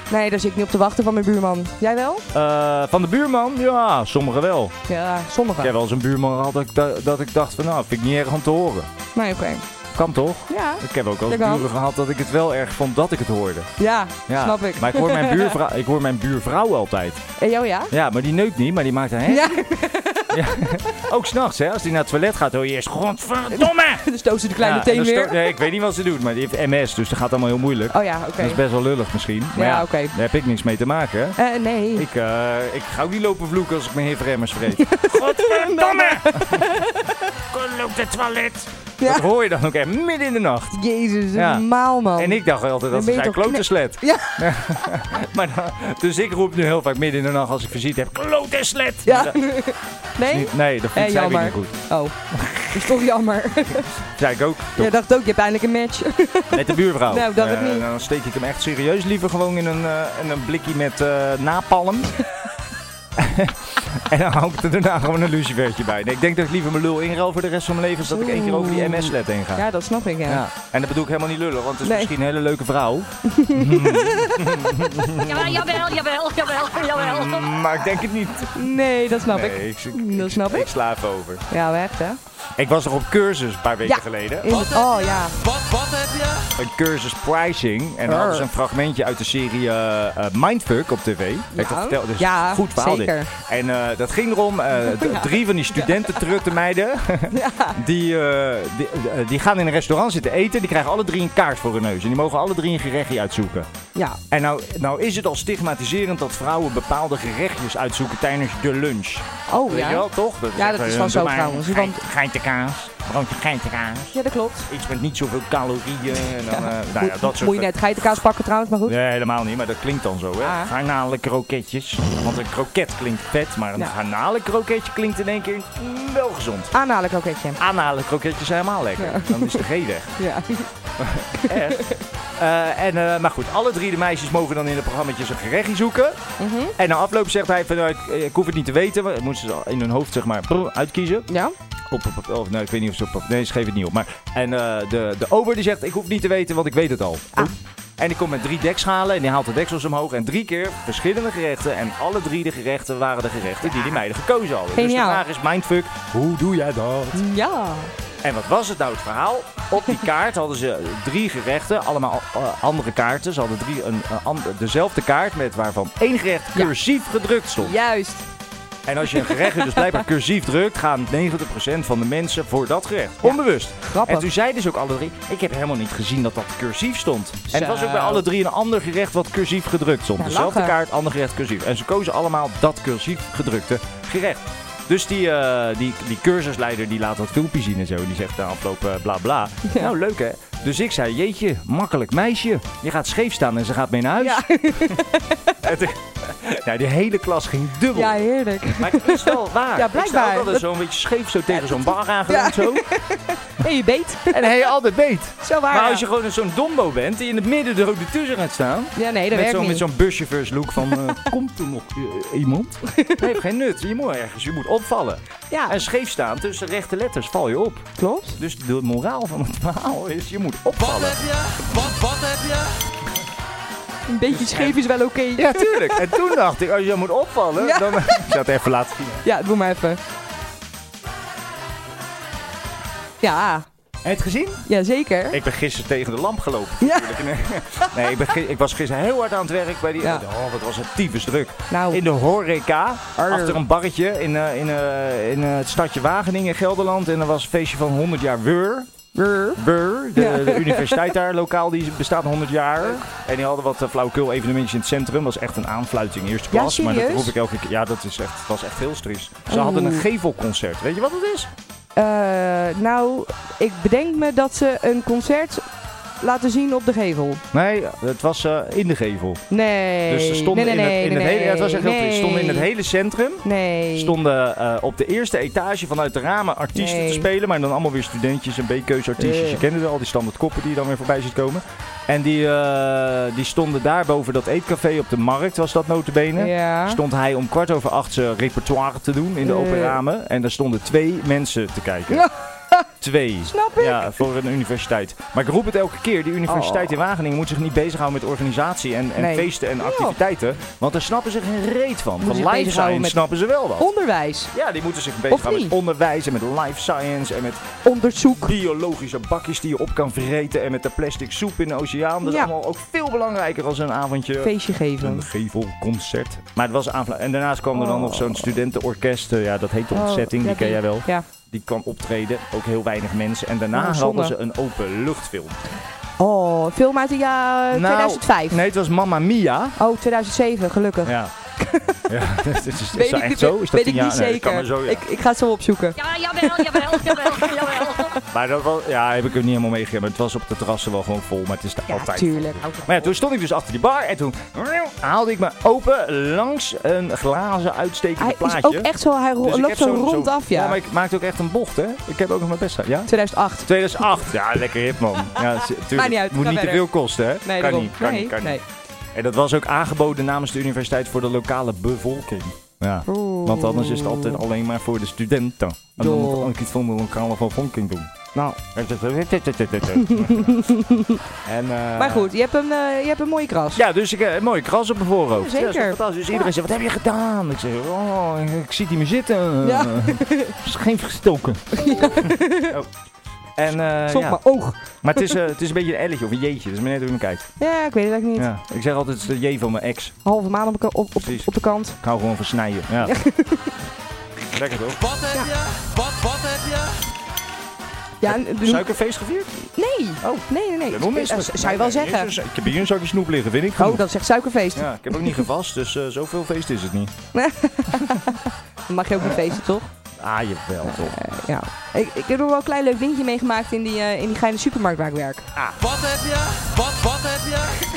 Nee, daar zit ik niet op te wachten van mijn buurman. Jij wel? Eh, van de buurman? Ja, sommigen wel. Ja, sommigen. Ik heb wel eens een buurman gehad dat ik, da- dat ik dacht van nou, vind ik niet erg om te horen. Nee, oké. Kan toch? Ja. Ik heb ook al Dat kan. buren gehad dat ik het wel erg vond dat ik het hoorde. ja, Ja. snap ik. Maar ik hoor, (laughs) mijn buurvrouw, ik hoor mijn buurvrouw altijd. En jou ja? Ja, maar die neukt niet, maar die maakt een hè? (laughs) Ja, Ook s'nachts, hè. Als die naar het toilet gaat, hoor je eerst... (laughs) Godverdomme! dus stoot ze de kleine Ja, en teen dan weer. sto- Nee, ik weet niet wat ze doet, maar die heeft MS, dus dat gaat allemaal heel moeilijk. Oh ja, oké. Dat is best wel lullig misschien. Maar Ja, ja, oké. daar heb ik niks mee te maken, hè. Eh, nee. Ik, eh, ik ga ook niet lopen vloeken als ik mijn hifremmers vreet. (laughs) Godverdomme! (laughs) Kom op de toilet! Ja. Dat hoor je dan ook echt midden in de nacht. Jezus, Ja. normaal man. En ik dacht altijd Dan dat ze ben je zei toch klote kne- slet. Ja. (laughs) maar dan- dus ik roep nu heel vaak midden in de nacht als ik visite heb. Klote slet! Maar Ja. dat- (laughs) nee? niet- nee, dat vind Eh, ik zei ik jammer. niet goed. Oh, dat is toch jammer. (laughs) Zei ik ook. Jij dacht ook, je hebt eindelijk een match. Met de buurvrouw. (laughs) Nou, dat Eh, het niet. Dan steek ik hem echt serieus liever gewoon in een, eh, in een blikje met eh, (laughs) napalm. en dan hou ik er daarna gewoon een lucifertje bij. Nee, ik denk dat ik liever mijn lul inruil voor de rest van mijn leven... als dat ik één keer over die MS-let heen ga. Ja, dat snap ik, ja. Ja. En dat bedoel ik helemaal niet lullen, want het is Nee. misschien een hele leuke (laughs) vrouw. (laughs) Jawel, jawel, jawel, jawel, jawel. Maar ik denk het niet. Nee, dat snap ik. Nee, ik, ik, Dat snap ik. slaap over. Ja, wel echt, hè? Ik was nog op cursus een paar weken Ja. geleden. In- oh, ja. Wat, wat heb je? Een cursus pricing. En dan hadden ze een fragmentje uit de serie eh, eh, Mindfuck op tv. Heb ik dat verteld? Dus Ja, goed verhaal dit. zeker. En eh, dat ging erom, (laughs) eh, d- drie van die studenten meiden, (laughs) die, eh, die, eh, die gaan in een restaurant zitten eten. Die krijgen alle drie een kaart voor hun neus. En die mogen alle drie een gerechtje uitzoeken. Ja. En nou, nou is het al stigmatiserend dat vrouwen bepaalde gerechtjes uitzoeken tijdens de lunch. Oh, Weet je ja. wel, toch? Dat Ja, echt, dat is eh, wel zo doe maar trouwens, een want- geit- Geitenkaas, broodje geitenkaas. Ja, dat klopt. Iets met niet zoveel calorieën. En dan, eh, nou ja, dat soort Moet je net geitenkaas pakken trouwens, maar goed. Nee, helemaal niet, maar dat klinkt dan zo, hè? Ah. Garnalenkroketjes. Want een kroket klinkt vet, maar een Ja. garnalenkroketje klinkt in één keer mm, wel gezond. Aanhalen kroketje. Aanhalenkroketjes zijn helemaal lekker. Dan is de G weg. Ja. (laughs) Echt. Eh, en, eh, maar goed, alle drie de meisjes mogen dan in de programma's een gerechtje zoeken. Mhm. En na afloop zegt hij van, nou, ik, eh, ik hoef het niet te weten. want Dat moeten ze in hun hoofd zeg maar brr, uitkiezen. Ja? Op, op, op- of, nou, ik weet niet of ze op, op- Nee, ze geven het niet op. Maar, en eh, de, de ober die zegt, ik hoef niet te weten, want ik weet het al. Ah. En ik kom met drie dekschalen en die haalt de deksels omhoog. En drie keer verschillende gerechten. En alle drie de gerechten waren de gerechten die die meiden gekozen hadden. Dus de Ah. Geniaal. vraag is, mindfuck, hoe doe jij dat? Ja. En wat was het nou het verhaal? Op die kaart hadden ze drie gerechten, allemaal eh, andere kaarten. Ze hadden drie, een, een ander- dezelfde kaart met waarvan één gerecht Ja. cursief gedrukt stond. Juist. En als je een gerecht dus blijkbaar cursief drukt, gaan 90% van de mensen voor dat gerecht. Onbewust. Grappig. En toen zeiden ze ook alle drie, ik heb helemaal niet gezien dat dat cursief stond. En het was Zo. ook bij alle drie een ander gerecht wat cursief gedrukt stond. Ja, Dezelfde lachen. kaart, ander gerecht cursief. En ze kozen allemaal dat cursief gedrukte gerecht. Dus die, eh, die, die cursusleider die laat dat filmpje zien en zo. Die zegt na afloop eh, bla bla. Nou, leuk hè. Dus ik zei, jeetje, makkelijk meisje. Je gaat scheef staan en ze gaat mee naar huis. Ja. (laughs) En toen- nou, die hele klas ging dubbel. Ja, heerlijk. Maar het is wel waar. (laughs) Ja, Ik sta blijkbaar. ook altijd zo'n beetje scheef zo tegen zo'n bar aangeleund zo. Hé, je beet. (laughs) En hij altijd beet. (laughs) Zo waar. Maar ja. als je gewoon zo'n dombo bent die in het midden er ook ertussen gaat staan. Ja, nee, Met dat werkt zo'n niet. met zo'n buschauffeurs look van, eh, (laughs) komt er nog eh, iemand? (laughs) Dat heeft geen nut. Je moet ergens, je moet opvallen. Ja, En scheef staan tussen rechte letters val je op. klopt. Dus de moraal van het verhaal is, je moet Wat opvallen. heb je? Wat, wat heb je? Een beetje scheef is wel oké. Ja, tuurlijk. En toen dacht ik, als je moet opvallen, Ja. dan... Ik zou het even laten zien. Ja, doe maar even. Ja, Heb je het gezien? ja zeker. Ik ben gisteren tegen de lamp gelopen. Ja. natuurlijk. (laughs) Nee, Nee, ik, ben gi- ik was gisteren heel hard aan het werk bij die. Ja. Oh, wat was het tyfus druk. Nou, In de horeca, Arr. achter een barretje in, eh, in, eh, in eh, het stadje Wageningen, Gelderland. En er was een feestje van 100 jaar Weur. Brr. Beur, de, (laughs) Ja. de universiteit daar lokaal, die bestaat 100 jaar. En die hadden wat eh, flauwekul evenementjes in het centrum. was echt een aanfluiting, eerste Ja, klas. maar dat serieus? Oh. roep ik elke keer. Ja, dat is echt, was echt heel stris. Ze Oeh. hadden een gevelconcert. Weet je wat het is? Eh, nou, ik bedenk me dat ze een concert laten zien op de gevel. Nee, het was eh, in de gevel. Nee. Dus ze stonden nee, in nee, het, nee, in het nee, hele... ja, het was echt heel nee. triest. Ze stonden in het hele centrum. Nee. Stonden eh, op de eerste etage vanuit de ramen artiesten Nee. te spelen. Maar dan allemaal weer studentjes en B-keuzeartiesten. Eh. Je kende wel, al die standaard koppen die je dan weer voorbij ziet komen. En die, eh, die stonden daar boven dat eetcafé op de markt, was dat notabene. Ja. Stond hij om kwart over acht zijn repertoire te doen in de open Eh. ramen. En daar stonden twee mensen te kijken. (laughs) Twee. Snap ik. Ja, voor een universiteit. Maar ik roep het elke keer. Die universiteit Oh. in Wageningen moet zich niet bezighouden met organisatie en, en Nee. feesten en activiteiten. Want daar snappen ze geen reet van. Moeten zich van live bezighouden science met- snappen ze wel wat. Onderwijs. Ja, die moeten zich bezighouden niet? met onderwijs en met life science en met Onderzoek. biologische bakjes die je op kan vreten en met de plastic soep in de oceaan. Dat Ja. is allemaal ook veel belangrijker als een avondje Feestje geven. een gevelconcert. Maar het was aanvla- En daarnaast kwam er dan Oh. nog zo'n studentenorkest. eh, Ja, dat heet Oh, Ontzetting, ja, die ken die- jij wel. Ja. Die kwam optreden, ook heel weinig mensen. En daarna Oh, zonde. hadden ze een openluchtfilm. Oh, film uit het jaar 2005. Nou, Nee, het was Mamma Mia. Oh, 2007, gelukkig. Ja. ja, (laughs) is, is, is Weet dat ik, echt zo? Is dat weet ik tien jaar? niet Nee, dat zeker. kan maar zo, ja. ik, ik ga het zo opzoeken. (laughs) Ja, jawel, jawel, jawel, jawel. Maar dat was, ja, heb ik het niet helemaal meegegeven. Maar het was op de terrassen wel gewoon vol. Maar het is daar Ja, altijd tuurlijk. Maar ja, toen stond ik dus achter die bar en toen haalde ik me open langs een glazen uitstekende Hij plaatje. is ook echt zo, hij ro- Dus ik loopt heb zo zo'n- rondaf, zo'n- ja. maar ik maakte ook echt een bocht, hè. Ik heb ook nog mijn best gedaan, ja. 2008. 2008. Ja, lekker hip, (laughs) man. Ja, z- tuurlijk. Maakt niet uit, Moet kan niet te verder. veel kosten, hè? kan Nee, daarom. niet, kan nee, niet, kan niet. nee. En dat was ook aangeboden namens de universiteit voor de lokale bevolking. Ja. Oeh. Want anders is het altijd alleen maar voor de studenten. En dan Joh. moet ook iets van de lokale bevolking doen. Nou. (laughs) en, eh, Maar goed, je hebt een, eh, je hebt een mooie kras. Ja, dus ik heb een mooie kras op mijn voorhoofd. Ja, zeker. dat is toch fantastisch. Dus iedereen zegt, wat heb je gedaan? Ik zeg, oh, ik, ik zit hier maar zitten. Eh, Ja. Is geen (laughs) gestoken. (laughs) Oh. En, eh, Stop ja. maar oog. Maar het is, eh, het is een beetje een elletje of een jeetje. Dat is maar net hoe je hem kijkt. Ja, ik weet het eigenlijk niet. Ja. Ik zeg altijd het is de J van mijn ex. Halve maan op, elka- op, op, Precies. op de kant. Ik hou gewoon van snijden. Ja. (laughs) Lekker toch? Wat heb je? Wat, wat heb je? Ja, en- en- Suikerfeest gevierd? Nee. Oh. Nee, nee, nee. Dat moet mis. Eh, zou je wel zeggen. Ik heb hier een zakje snoep liggen, vind ik. Oh, genoeg. dat zegt suikerfeest. Ja, ik heb ook niet gevast, dus eh, zoveel feest is het niet. (laughs) Dan mag je ook niet feesten, toch? Ah, je wel toch. Ja. Ik, ik heb er wel een klein leuk dingetje meegemaakt in die, eh, in die geile supermarkt waar ik werk. Ah. Wat heb je? Wat, wat heb je?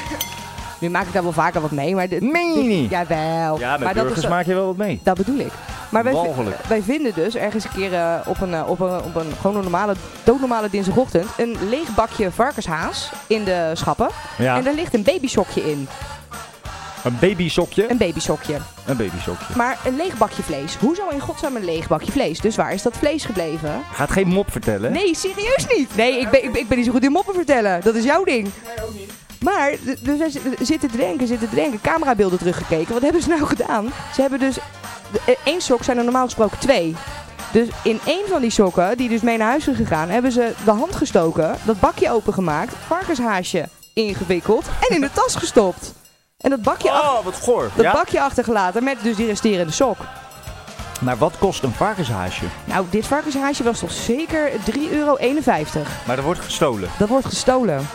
Nu maak ik daar wel vaker wat mee, maar... dit- Meen je niet? Jawel. Ja, met maar dat burgers is, maak je wel wat mee. Dat bedoel ik. Maar wij, Walgelijk. wij vinden dus ergens een keer eh, op, een, eh, op, een, op een gewoon een normale, doodnormale dinsdagochtend een leeg bakje varkenshaas in de schappen. Ja, En daar ligt een babysokje in. een babysokje. Een babysokje. Een babysokje. Maar een leeg bakje vlees. Hoezo in godsnaam een leeg bakje vlees? Dus waar is dat vlees gebleven? Gaat geen mop vertellen. Nee, serieus niet. Nee, ik ben, ik, ben- ik ben niet zo goed in moppen vertellen. Dat is jouw ding. Nee, ook niet. Maar, d- dus wij zi- zitten te denken, zitten te denken. Camerabeelden teruggekeken. Wat hebben ze nou (laughs) gedaan? Ze hebben dus... de- eh, één sok zijn er normaal gesproken twee. Dus in één van die sokken, die dus mee naar huis is gegaan... hebben ze de hand gestoken, dat bakje opengemaakt... varkenshaasje ingewikkeld en in de tas gestopt. En dat bakje, ach- Oh, wat goor. dat Ja? bakje achtergelaten met dus die resterende sok. Maar wat kost een varkenshaasje? Nou, dit varkenshaasje was toch zeker 3,51 euro. Maar dat wordt gestolen. Dat wordt gestolen.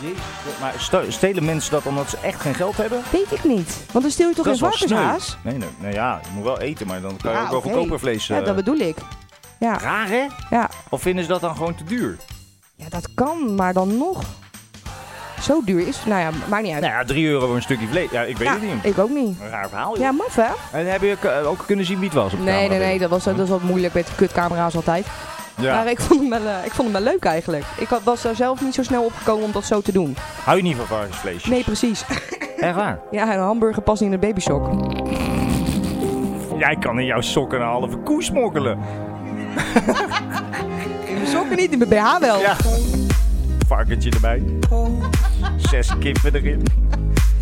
Maar sto- stelen mensen dat omdat ze echt geen geld hebben? Weet ik niet. Want dan stil je toch dat is geen wel sneu. varkenshaas? Nee, nee, nou ja, je moet wel eten, maar dan kan je Ah, ook wel oké. goedkoper vlees. Ja, eh, dat bedoel ik. Ja. Raar, hè? Ja. Of vinden ze dat dan gewoon te duur? ja, dat kan, maar dan nog. Zo duur is. Nou ja, maakt niet uit. Nou ja, 3 euro voor een stukje vlees. Ja, ik weet Ja, het niet. ik ook niet. Een raar verhaal, joh. Ja, maf hè? En heb je ook, eh, ook kunnen zien wie het was op de Nee, nee, camera, nee. denk ik? Dat was, dat was wat moeilijk met kutcamera's altijd. Ja. Maar ik vond, hem wel, eh, ik vond hem wel leuk eigenlijk. Ik had- was er zelf niet zo snel opgekomen om dat zo te doen. Hou je niet van varkensvleesjes? Nee, precies. Echt waar? (laughs) Ja, een hamburger past niet in een babysok. Jij kan in jouw sokken een halve koe smokkelen. In mijn sokken niet, in mijn BH wel. Ja. Varkentje erbij. Zes kippen erin.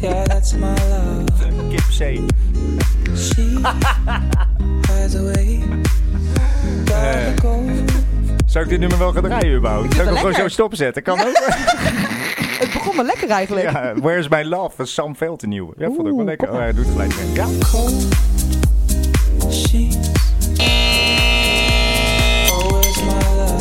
Yeah, that's my love. Kip C. She hides away. Gotta go. Zou ik dit nummer wel gaan draaien überhaupt? Zou ik wel hem gewoon zo lekker. stopzetten? Kan ook. Het begon wel lekker eigenlijk. Ja, Where's My Love van Sam Veld, de nieuwe. Ja, vond ik wel Oeh, lekker. kom Oh, hij doet het gelijk weer. Ja. cold. She's always my love.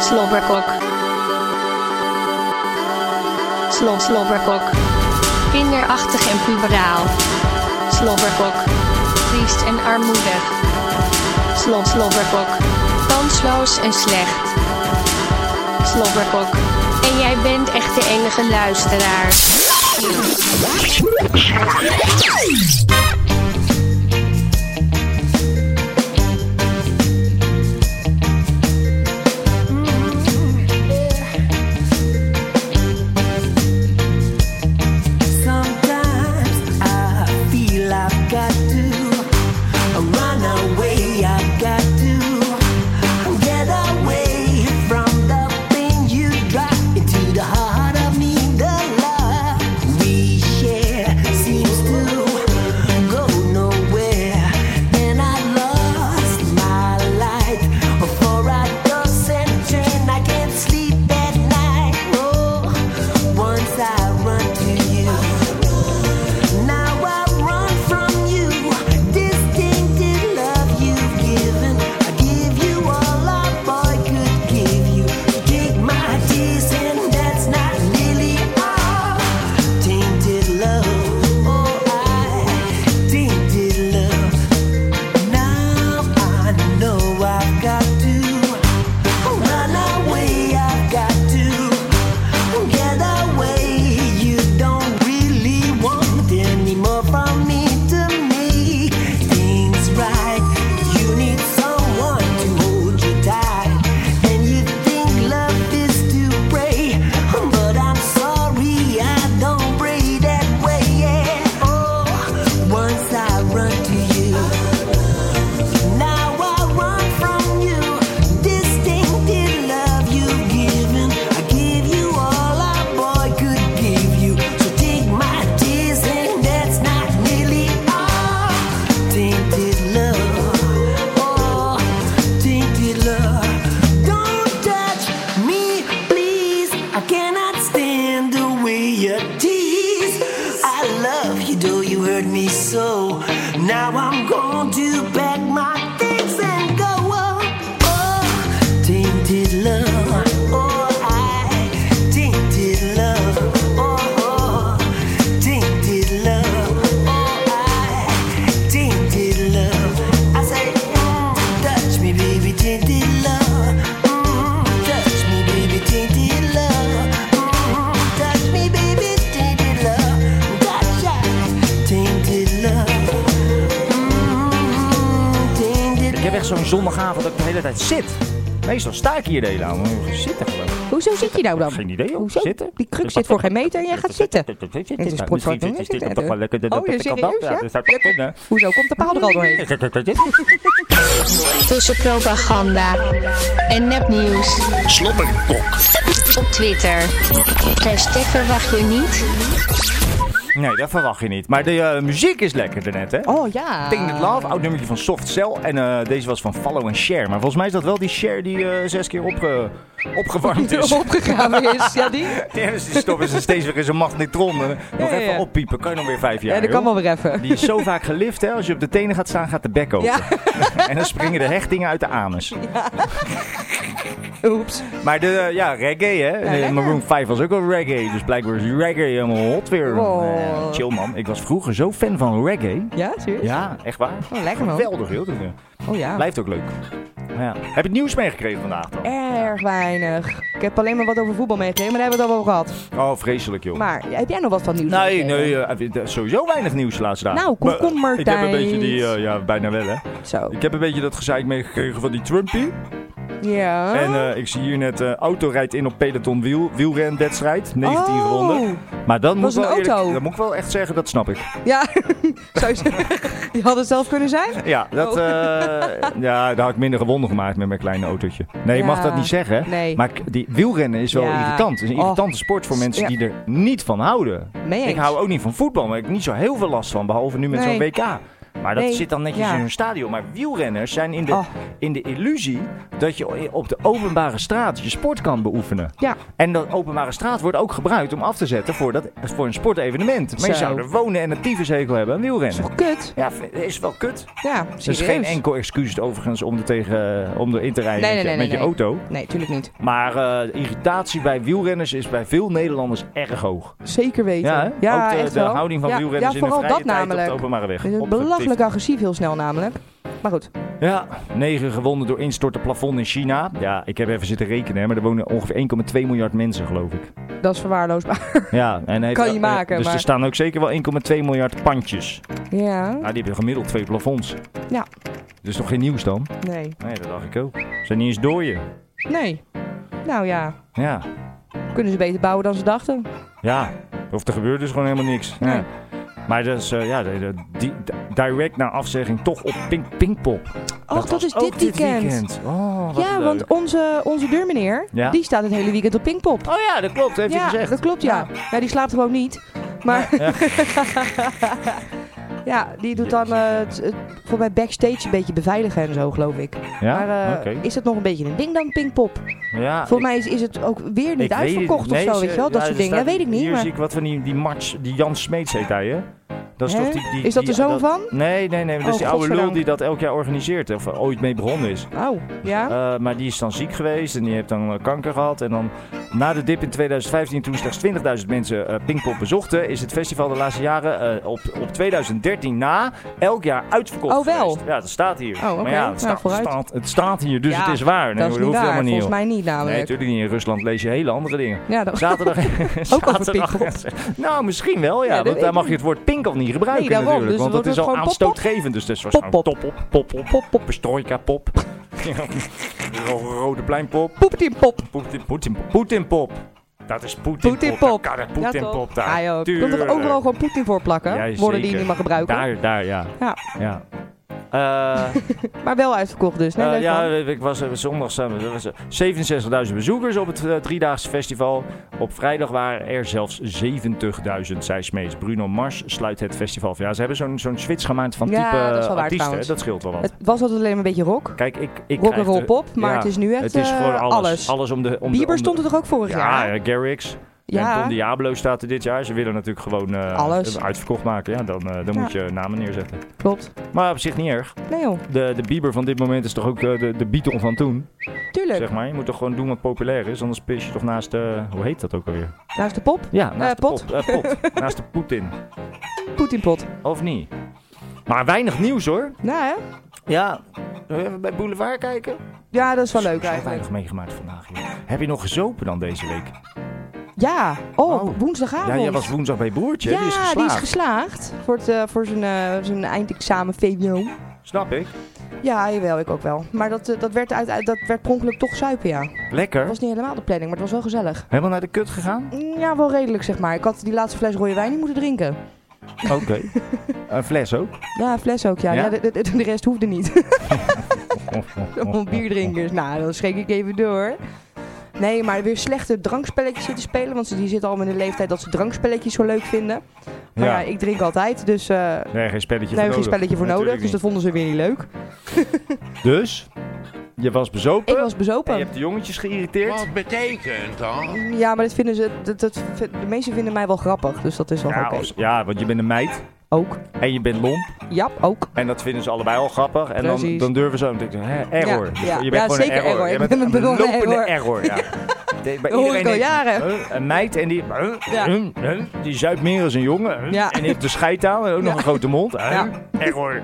Slobberkok. Slob, slobberkok. Kinderachtig en puberaal. Slobberkok. Triest en armoedig. Slob, slobberkok. Kansloos en slecht. Slobberkok. En jij bent echt de enige luisteraar. Sometimes I feel I've got to run away. I've got to get away from the pain you drive into the heart of me. The love we share seems to go nowhere. Then I lost my light for a dozen train. I can't sleep at night. Oh, once I run to you. Now I run from you, distinctive love you've given. I give you all a boy could give you. Take my tears, and that's not really all. Tainted love, oh I tainted love. Now I know I've got to run away. I've got to. Get away, you don't really want any more from me to make things right. You need someone to hold you tight. And you think love is to pray. But I'm sorry, I don't pray that way. Yeah. Oh, once I run to you. Now I run from you. Distinctive love you've given. I give you all a boy could give you. So take my tears, and that's not really all. Tainted love, oh, tainted love. Don't touch me, please. I cannot stand the way you tease. I love you, though you hurt me so. Now I'm going to pack my things and go. Oh, oh, tainted love. Oh, I tainted love. Oh, oh, tainted love. Oh, I tainted love. I say, mm, touch me, baby, tainted love. Mm, touch me, baby, tainted love. Mm, touch me, baby, tainted love. Touch I, tainted love. Mm, tainted Ik heb echt zo'n zondagavond dat ik de hele tijd zit. Meestal sta ik hier de hele avond. maar ik zit er gewoon. Hoezo zit je nou dan? Geen idee, joh. Hoezo? Zitten. Die kruk zit voor geen meter en jij gaat zitten. Het is is sportvak, sportvak. dan Is zit dit dan het. toch wel lekker? Oh, je kan serieus, dat. ja? Ja, dat zou toch kunnen? Hoezo komt de paal er al doorheen? Tussenpropaganda en nepnieuws. Slobberkok. Op Twitter. Hashtag verwacht je niet. Nee, dat verwacht je niet. Maar de eh, muziek is lekker daarnet, hè? Oh ja. Think That Love, oud nummertje van Soft Cell. En eh, deze was van Follow and Share. Maar volgens mij is dat wel die share die eh, zes keer opge- (laughs) opgewarmd is. opgegraven is. Ja, die? (laughs) Ja, dus die stoppen ze steeds weer in zo'n magnetron. Eh, Nog ja, even ja. oppiepen, kan je nog weer vijf jaar. Ja, dat kan wel joh. weer even. Die is zo vaak gelift, hè. Als je op de tenen gaat staan, gaat de bek open. (laughs) Ja. En dan springen de hechtingen uit de anus. (laughs) Oeps. Maar de, eh, ja, reggae, hè. Eh, lekker. Maroon 5 was ook al reggae. Dus blijkbaar is reggae helemaal hot weer. Wow. Eh, chill, man. Ik was vroeger zo fan van reggae. Ja, serieus? Ja, echt waar. Oh, lekker man. Geweldig, joh. Dat, eh, Oh ja. Blijft ook leuk. Ja. Heb je het nieuws meegekregen vandaag dan? Erg weinig. Ik heb alleen maar wat over voetbal meegekregen, maar daar hebben we het al over gehad. Oh, vreselijk joh. Maar heb jij nog wat van nieuws? Nee, meegekregen? nee, eh, eh, sowieso weinig nieuws de laatste dagen. Nou, kom- Maar, eh, kom maar, Ik heb een Thijs. beetje die, eh, ja, bijna wel hè. Zo. Ik heb een beetje dat gezeik meegekregen van die Trumpy. Ja. En eh, ik zie hier net, eh, auto rijdt in op peloton wiel, wielrenwedstrijd, 19 Oh. ronden. Maar dan moet, Was ik wel een auto. dat moet ik wel echt zeggen, dat snap ik. Ja, (laughs) zou je zeggen. Je had het zelf kunnen (laughs) zijn? Ja, dat, Oh. eh, ja, daar had ik minder gewonnen gemaakt met mijn kleine autootje. Nee, je mag Ja. dat niet zeggen. hè. Nee. Maar k- die wielrennen is wel Ja. irritant. Het is een Och. irritante sport voor mensen Ja. die er niet van houden. Mee eens. Ik hou ook niet van voetbal, maar ik heb niet zo heel veel last van, behalve nu met Nee. zo'n WK. Maar dat Nee, zit dan netjes ja. in hun stadion. Maar wielrenners zijn in de, Oh. in de illusie dat je op de openbare straat je sport kan beoefenen. Ja. En dat openbare straat wordt ook gebruikt om af te zetten voor, dat, voor een sportevenement. Maar je Zo. zou er wonen en een tyfushekel hebben aan wielrennen. Toch kut? Ja, v- is wel kut. Ja, Er is geen enkel excuus overigens om er, tegen, eh, om erin te rijden Nee, met, nee, je- nee, met nee, je nee. auto. Nee, tuurlijk niet. Maar eh, irritatie bij wielrenners is bij veel Nederlanders erg hoog. Zeker weten. Ja, hè? ook de, echt de wel. houding van ja, wielrenners ja, in de vooral vrije dat tijd namelijk. op de openbare weg. Het is Op de Belachelijk agressief heel snel namelijk. Maar goed. Ja, 9 gewonden door instorten plafond in China. Ja, ik heb even zitten rekenen, hè, maar er wonen ongeveer 1,2 miljard mensen, geloof ik. Dat is verwaarloosbaar. (laughs) Ja, en hij heeft- Kan je eh, maken, Dus maar- er staan ook zeker wel 1,2 miljard pandjes. Ja. Nou, die hebben gemiddeld twee plafonds. Ja. Dus toch geen nieuws dan? Nee. Nee, dat dacht ik ook. Ze zijn niet eens door je. Nee. Nou ja. Ja. Kunnen ze beter bouwen dan ze dachten. Ja. Of er gebeurt dus gewoon helemaal niks. Ja. Nee. Maar dat is, eh, ja, de- de- die, direct na afzegging toch op Pink Pinkpop. Och, Oh, dat, was is ook dit weekend. Oh, wat Ja, leuk. want onze, onze deurmeneer, Ja. die staat het hele weekend op Pinkpop. Oh ja, dat klopt, heeft ja, hij gezegd. dat klopt, ja. Ja, die slaapt gewoon niet. Maar... Ja, (laughs) die doet dan eh, het- het- voor mij backstage een beetje beveiligen en zo, geloof ik. Ja, Maar eh, oké. is dat nog een beetje een ding dan, Pinkpop? Ja, Volgens mij is, is het ook weer niet weet het uitverkocht niet. of Nee, zo, weet ze- je wel? Dat ja, soort er dingen. Ja, staat- weet ik niet, Hier maar... zie ik wat van die, die match, die Jan Smeets heet hij, hè? Dat is, Hè? toch die, die, Is dat die- er zo van? Nee, nee, nee. Dat Oh, is die oude lul godzijdank. die dat elk jaar organiseert. Of eh, ooit mee begonnen is. Auw, Oh, ja? Eh, maar die is dan ziek geweest en die heeft dan eh, kanker gehad. En dan na de dip in 2015, toen slechts 20.000 mensen eh Pinkpop bezochten, is het festival de laatste jaren eh, op, op 2013 na elk jaar uitverkocht. Oh, wel? geweest. Ja, dat staat hier. Oh, oké. Maar ja, Nou, het, staat- vooruit. staat, het staat hier, dus Ja, het is waar. Nee, dat is niet hoeft waar, helemaal niet. volgens joh. mij niet Nee, namelijk. natuurlijk niet. In Rusland lees je hele andere dingen. ja, dat... Zaterdag. (laughs) zaterdag (laughs) Pinkpop. nou, misschien wel, ja. Ja, dat want weet daar ik mag je het woord Pinkpop niet gebruiken Nee, daarom. natuurlijk. Dus want dan dat is wordt al het gewoon pop-pop. aanstootgevend. Dus dat is waarschijnlijk Pop-pop. top-op, pop-op, pop-pop, pestrojka, (laughs) pop. Ro- Rode pleinpop, Poepetimpop. Poetin- Poetin- Poetinpop. Dat is Poetinpop. Poetinpop. Daar kan het Ja, Poetinpop toch? daar. Ja, joh. Je kunt er Tuurlijk. overal gewoon Poetin voor plakken. Ja, woorden die je zeker. niet mag gebruiken. Daar, daar, ja. Ja. ja. Eh, Maar wel uitverkocht (laughs) dus. Nee, eh, leuk ja, man. ik was eh, zondag samen. er was, eh, 67.000 bezoekers op het eh, driedaagse festival. Op vrijdag waren er zelfs 70.000, zei Smees. Bruno Mars sluit het festival. af. Ja, ze hebben zo'n zo'n switch gemaakt van Ja, type eh, dat is wel waar artiesten. trouwens. dat scheelt wel wat. Het was altijd alleen maar een beetje rock. Kijk, ik, ik Rock krijg and roll de- pop, maar ja, het is nu echt Het is gewoon eh, alles. alles. Alles om de... Om de- om Bieber de, stond er toch ook vorig Ja, jaar? ja Garrix. En Don Diablo staat er dit jaar. Ze willen natuurlijk gewoon eh, Alles. uitverkocht maken. Ja, dan, eh, dan Ja. moet je namen neerzetten. klopt. Maar op zich niet erg. Nee joh, De, de Bieber van dit moment is toch ook eh, de, de Beatle van toen? tuurlijk. Zeg maar, je moet toch gewoon doen wat populair is, anders pis je toch naast, eh, hoe heet dat ook alweer? Naast de pop, Ja, naast Eh, de pot? eh, pot. naast de Poetin, Poetinpot. of niet? Maar weinig nieuws hoor. (laughs) Nou hè? Ja, zullen we even bij Boulevard kijken? Ja, dat is wel leuk Ik heb eigenlijk. weinig meegemaakt vandaag. joh. Heb je nog gezopen dan deze week? Ja, oh, Oh. woensdagavond. Ja, jij was woensdag bij Boertje, Ja, die is geslaagd. geslaagd voor, het, eh, voor zijn, eh, zijn eindexamen VWO. Snap ik. Ja, jawel, ik ook wel. Maar dat, eh, dat, werd uit, uit- dat werd per ongeluk toch zuipen, ja. Lekker. Dat was niet helemaal de planning, maar het was wel gezellig. Helemaal naar de kut (laughs) gegaan? Mm, Ja, wel redelijk zeg maar. Ik had die laatste fles rode wijn niet moeten drinken. Oké. Een fles (laughs) ook. Ja, fles ook, ja. Ja? ja? de, de, de rest hoefde niet. (laughs) Om bier Oh. drinken. Dus nou, dan schrik ik even door. Nee, maar weer slechte drankspelletjes zitten spelen. Want ze die zitten allemaal in de leeftijd dat ze drankspelletjes zo leuk vinden. Maar ja, Ja. ik drink altijd. Dus eh daar Nee, geen spelletje hebben we voor geen nodig. spelletje voor nodig. Natuurlijk Dus dat vonden ze weer niet leuk. niet. Dus, je was bezopen. Ik was En bezopen. je hebt de jongetjes geïrriteerd. Wat betekent dat? Oh. Ja, maar dat vinden ze, dat, dat, de meesten vinden mij wel grappig. Dus dat is wel Ja, oké. als- ja, want je bent een meid Ook. en je bent lomp. Ja, ook. En dat vinden ze allebei al grappig. En dan, Precies. dan durven ze ook te denken, hè, error. Ja, Dus ja. Je bent Ja, gewoon zeker een error. error. Je Ik bent ben een een begonnen lopende error. error. (laughs) ja. De- bij Dat hoor ik al denkt, jaren. huh, Een meid en die, huh, huh, huh, die zuipt meer als een jongen. huh, Ja. En die heeft de scheidtaal en ook nog een grote mond. huh, Ja. Error.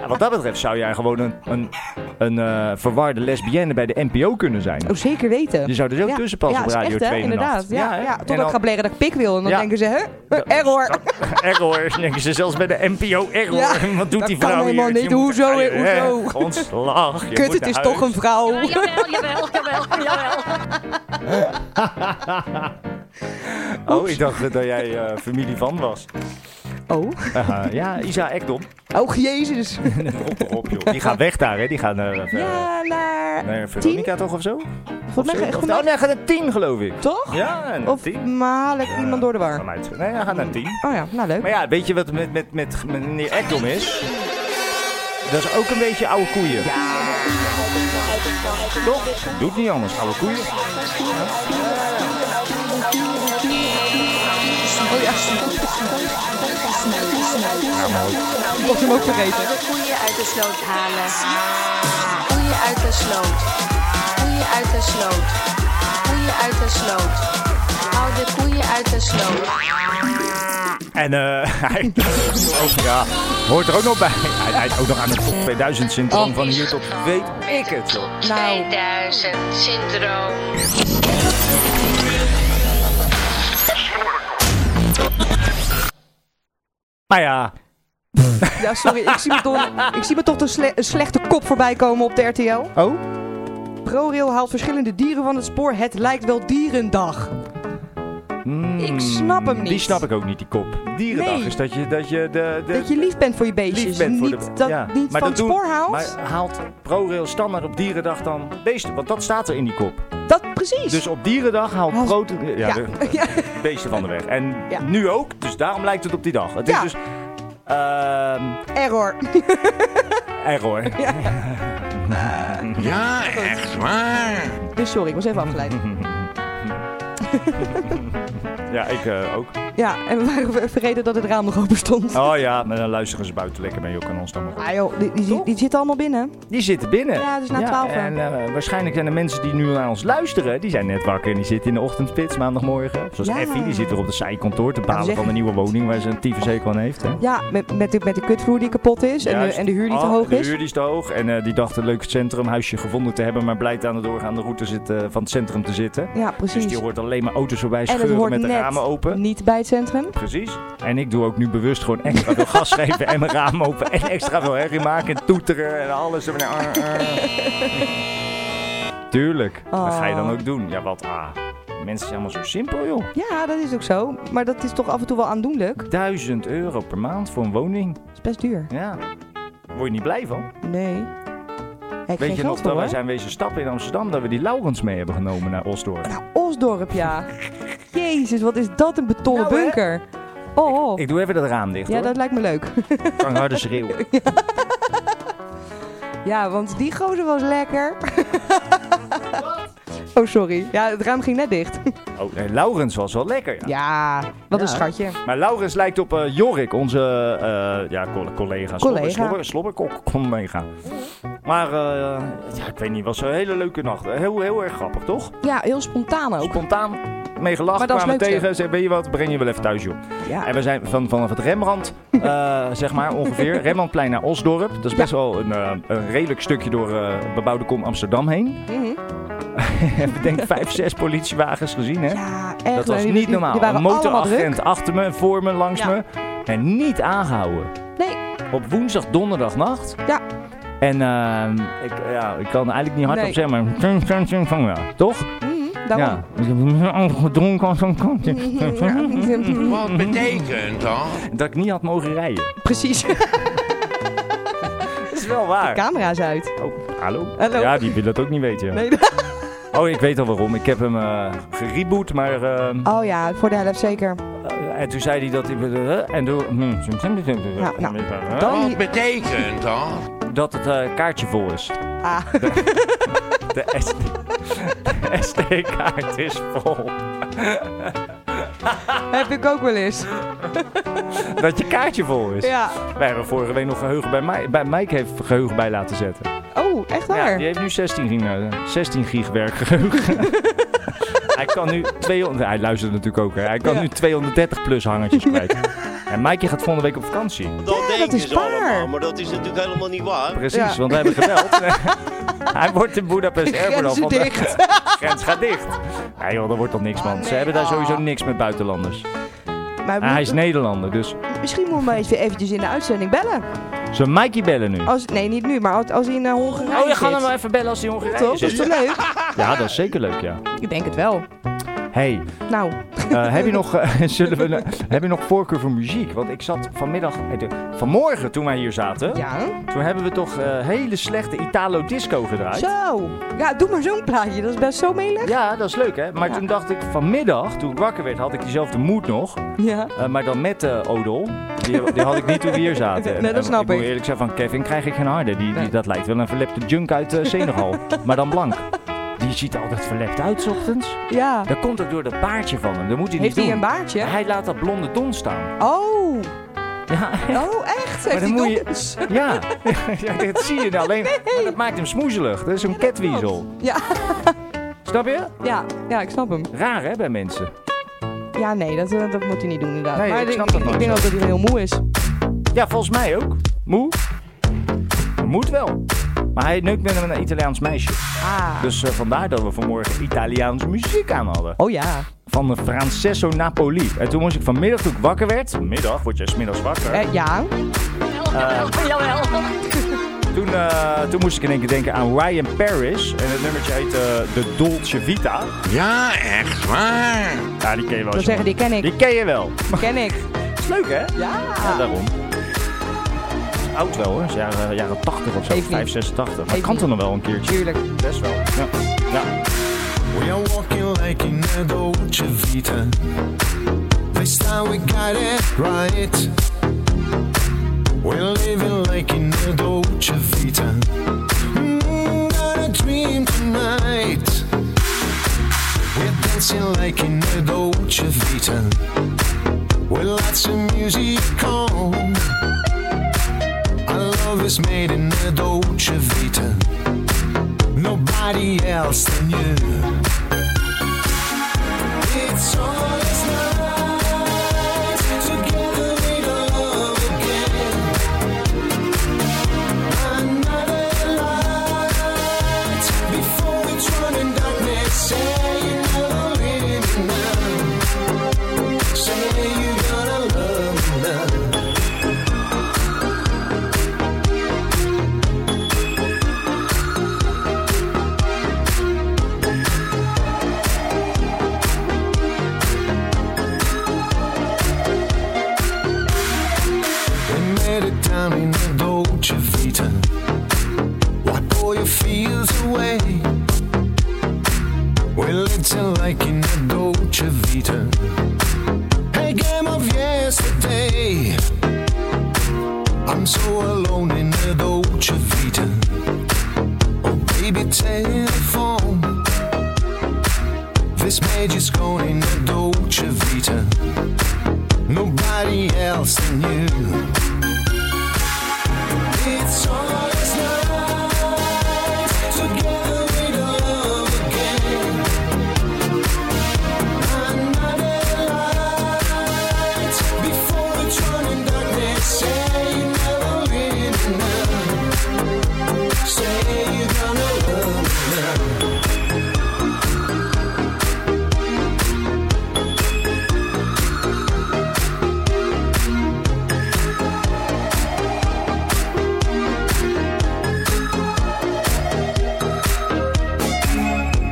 Ja, wat dat betreft zou jij gewoon een, een, een eh, verwarde lesbienne bij de NPO kunnen zijn. Oh, zeker weten. Je zou dus ook Ja. tussenpassen ja, op is Radio echt, hè? 2 in de nacht. Inderdaad. Ja, hè? ja, Totdat En dan- ik ga bleren dat ik pik wil. En dan Ja. denken ze, hè? Eh, Error. Error, denken ze zelfs bij de NPO. Error, Ja, (laughs) wat doet dat die kan vrouw helemaal hier? niet. Je moet- Hoezo, Ah, je- hè? Hoezo? hè, Ontslag. Je Kut, moet het is naar toch huis. een vrouw. (laughs) Jawel, jawel, jawel, jawel. (laughs) Oh, ik dacht eh, dat jij eh, familie van was. Oh. Eh, ja, Isa Ekdom. (laughs) Oh, jezus. Op de op, joh. Die gaat weg daar, hè? Die gaat naar, eh, Ja, naar... naar Veronica toch of zo? Of Volgens mij, zo? Of, volgens oh, mij- nee, hij gaat naar 10, geloof ik. toch? Ja, naar Of 10. maal ik iemand door de war? Kan mij het schelen. Nee, hij gaat naar 10. Oh ja, nou leuk. Maar ja, weet je wat er met, met, met meneer Ekdom is? Dat is ook een beetje oude koeien. Toch? Doet niet anders, oude koeien. Oh ja. Ja, mooi. Ik was hem ook vergeten. De koeien uit de sloot halen. Koeien uit de sloot. Koeien uit de sloot. Koeien uit de sloot. Hou de koeien uit de sloot. En eh, (laughs) hij oh, ja, hoort er ook nog bij. Hij rijdt ook nog aan het top Eh, 2000 syndroom oh, van hier tot weet ik het Nou. joh. 2000 syndroom. Maar ja, Ja, sorry. Ik zie me toch, (laughs) ik zie me toch de sle- een slechte kop voorbij komen op de RTL. Oh? ProRail haalt verschillende dieren van het spoor. Het lijkt wel dierendag. Ik snap hem niet. Hmm. die snap ik ook niet, die kop. Dierendag Nee. is dat je, dat je de, de, Dat je lief bent voor je beestjes. lief bent voor niet, de... dat ja. niet Maar van dat doen- het spoor haalt. Maar haalt ProRail standaard op dierendag dan beesten? Want dat staat er in die kop. Dat precies. Dus op dierendag haalt Haalt- Pro... Ja, Ja. de- (laughs) Ja. beesten van de weg. En Ja. nu ook, dus daarom lijkt het op die dag. Het Ja. is dus... ehm Error. error. Ja, echt waar. Dus sorry, ik was even afgeleid. Mhm. Ja, ik eh, ook. Ja, en we waren ver- vergeten dat het raam nog open stond. Oh ja, maar dan luisteren ze buiten lekker mee, joh. Kan ons dan maar goed. Ah joh, die, die, die, die zitten allemaal binnen. Die zitten binnen. Ja, dus na 12 uur. En eh, waarschijnlijk zijn de mensen die nu naar ons luisteren, die zijn net wakker en die zitten in de ochtendspits maandagmorgen. Zoals Ja. Effie, die zit er op de zijkantoor te Ja, balen zeg- van de nieuwe woning waar ze een tyfushekel aan heeft. Hè? Ja, met, met, de, met de kutvloer die kapot is en de, Juist. en de huur die te Ah, hoog De is. huur die is te hoog. En eh, die dacht een leuk centrumhuisje gevonden te hebben, maar blijkt aan de doorgaande route zit, eh, van het centrum te zitten. Ja, Dus precies. die hoort alleen maar auto's voorbij En het scheuren hoort met de net ramen open. niet bij het centrum. Precies. En ik doe ook nu bewust gewoon extra veel (laughs) gas geven en mijn raam open. En extra veel herrie maken en toeteren en alles. En, eh, eh. Tuurlijk. Dat ga je dan ook doen. Ja, wat ah. Mensen zijn allemaal zo simpel, joh. Ja, dat is ook zo. Maar dat is toch af en toe wel aandoenlijk. Dat 1000 euro per maand voor een woning. is best duur. Ja. Word je niet blij van? Nee. Heb Weet geen je geld nog voor, dat wij hoor. zijn wezen stappen in Amsterdam, dat we die Laurens mee hebben genomen naar Osdorp? Nou, Osdorp, ja. Jezus, wat is dat een betonnen Nou, hè? bunker. Oh, oh. Ik doe even dat raam dicht, ja, hoor. dat lijkt me leuk. (laughs) kan harder schreeuwen. Ja, want die gozer was lekker. (laughs) (laughs) Oh, sorry. Ja, het raam ging net dicht. (laughs) Oh, nee, Laurens was wel lekker, ja. Ja, wat een Ja. schatje. Maar Laurens lijkt op eh, Jorik, onze eh, ja, coll- collega, Collega. slobber, slobber, slobberkok, collega. Maar eh, ja, ik weet niet, was een hele leuke nacht. Heel, heel erg grappig, toch? Ja, heel spontaan ook. Spontaan mee gelachen, Maar dat is kwamen leuk, tegen. Zei, weet je wat, breng je wel even thuis, joh. Ja. En we zijn van, vanaf het (laughs) Rembrandt, eh, zeg maar ongeveer, Rembrandtplein naar Osdorp. Dat is best wel een, eh, een redelijk stukje door eh, bebouwde kom Amsterdam heen. Mhm. Ik denk (laughs) vijf, zes politiewagens gezien, hè? Ja, echt Dat was leuk. niet Die- normaal. Die waren een allemaal druk. motoragent achter me, voor me, langs Ja. me. En niet aangehouden. Nee. Op woensdag, donderdagnacht. Ja. En ehm, ik, ja, ik kan eigenlijk niet hardop Nee. zeggen, maar... tjung, tjung, tjung, van ja. Toch? Mhm, daarom. Ja. (laughs) Gedronken als een kant. (laughs) (laughs) Wat betekent dat? Dat ik niet had mogen rijden. Precies. Dat (laughs) is wel waar. Camera's uit. Oh, hallo? Hallo. Ja, die wil dat ook niet weten. ja. (laughs) Nee. Oh, ik weet al waarom. Ik heb hem eh gereboot, maar... ehm, Oh ja, voor de helft (laughs) zeker. eh, en toen zei hij dat... hij- en toen... hm, Nou, nou, Wat Dan... betekent dat? dat het eh, kaartje vol is. Ah. (laughs) De, SD de SD-kaart is vol. (laughs) Heb ik ook wel eens. Dat je kaartje vol is. Ja. Wij hebben vorige week nog geheugen bij Mike. Bij Mike heeft geheugen bij laten zetten. Oh, echt Ja, waar? die heeft nu 16 gig, eh, 16 gig werkgeheugen. (laughs) hij kan nu 200... Hij luistert natuurlijk ook. Hè. Hij kan Ja. nu 230 plus hangertjes (laughs) kwijt. En Mike gaat volgende week op vakantie. Dat Ja, denken dat is ze waar. allemaal, maar dat is natuurlijk helemaal niet waar. Precies, Ja. want we hebben (laughs) gebeld. hij wordt in Budapest Erdogan Grenzen van de dicht. grens gaat dicht. Nee joh, dat wordt toch niks man. Ze nee. hebben daar Ah. sowieso niks met buitenlanders. Maar En hij is Nederlander, dus misschien moeten we maar eens weer eventjes in de uitzending bellen. Zullen we Mikey bellen (laughs) nu? Als, nee, niet nu, maar als, als hij in eh, Hongarije Oh, je gaat zit. hem wel even bellen als hij Hongarije (laughs) Toch? Dat is is. toch leuk? Ja, dat is zeker leuk, ja. Ik denk het wel. Hey, Nou, Eh, heb, je nog, (laughs) eh, zullen we, heb je nog voorkeur voor muziek? Want ik zat vanmiddag, eh, de- vanmorgen toen wij hier zaten, toen hebben we toch eh, hele slechte Italo Disco gedraaid. Zo. Ja, doe maar zo'n plaatje. Dat is best zo meelig. Ja, dat is leuk hè. Maar toen dacht ik vanmiddag, toen ik wakker werd, had ik diezelfde moed nog. Ja. Eh, maar dan met eh Odol. Die, die had ik niet toen we hier zaten. (laughs) Nee, dat En, eh, snap ik. moet ik. eerlijk zeggen, van Kevin krijg ik geen harde. Die, die- Dat lijkt wel een verlepte junk uit eh, (laughs) Senegal. maar dan blank. Die ziet er altijd verlept uit, 's ochtends. Ja. Dat komt ook door dat baardje van hem. Dat moet hij Heeft niet hij doen. een baardje? Hij laat dat blonde don staan. Oh. Oh, echt? dan Heeft hij moet je- donders? (laughs) Ja. ja, dat zie je nou alleen. Maar dat maakt hem smoezelig. Dat is een catweasel. Ja. (laughs) Snap je? Ja, ja, ik snap hem. Raar hè, bij mensen. Ja, nee, dat, eh, dat moet hij niet doen inderdaad. Nee, maar ik ik, snap dat ik nooit denk zo. ook dat hij heel moe is. Ja, volgens mij ook. Moe? Moet wel. Maar hij neukt met een Italiaans meisje. Ah. Dus eh, vandaar dat we vanmorgen Italiaans muziek aan hadden. Oh ja. Van de Francesco Napoli. En toen moest ik vanmiddag, toen ik wakker werd... Middag, word je smiddags wakker. Eh, ja. Eh, Jawel. toen, eh, toen moest ik in één keer denken aan Ryan Paris. En het nummertje heet eh, De Dolce Vita. Ja, echt waar. Ja, die ken je wel. Dat zeggen, die ken ik. Die ken je wel. Ken ik. (laughs) Is leuk, hè? Ja. Ja, daarom. Oud wel hoor, is jaren, eh, jaren 80 of zo, 5, 86. Maar kan toch nog wel een keertje? Tuurlijk. Best wel. Ja. ja. We are walking like in a Dolce Vita. This time eh. we got it right. We're living like in a Dolce Vita. Mm, got a dream tonight. We're dancing like in a Dolce Vita. With lots of music on. Our love is made in a Dolce Vita. Nobody else than you. It's all it's night. Together we love again. Another light before we turn in darkness. Say you never leave me now. Say you gonna love me now. We made it down in the Dolce Vita. Wipe all your fears away. We're little like in the Dolce Vita. A game of yesterday. I'm so alone in the Dolce Vita. Oh, baby, telephone. This magic's gone in the Dolce Vita nobody else than you. It's all it's night. Together we love again. Another light before the turning darkness. Say you never leave me now. Say you're gonna love me now.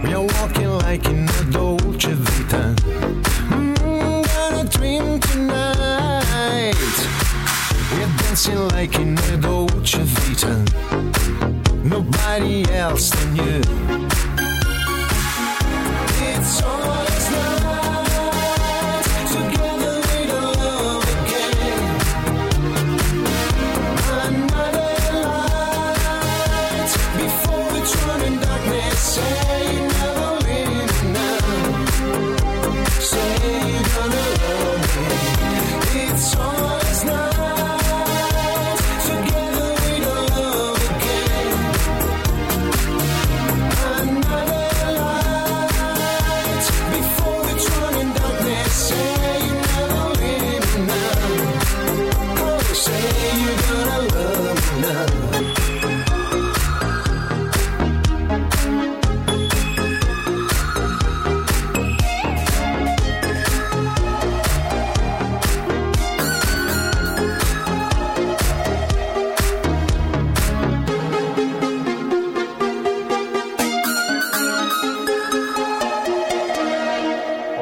We are walking like in a Dolce Vita. Mm, got a dream tonight. We're dancing like in a Dolce Vita. Nobody else than you. It's all it's night. Together we love again. Another light before the turning darkness. Say you never leave me now. Say you're gonna love me. It's all it's night. Together we love again.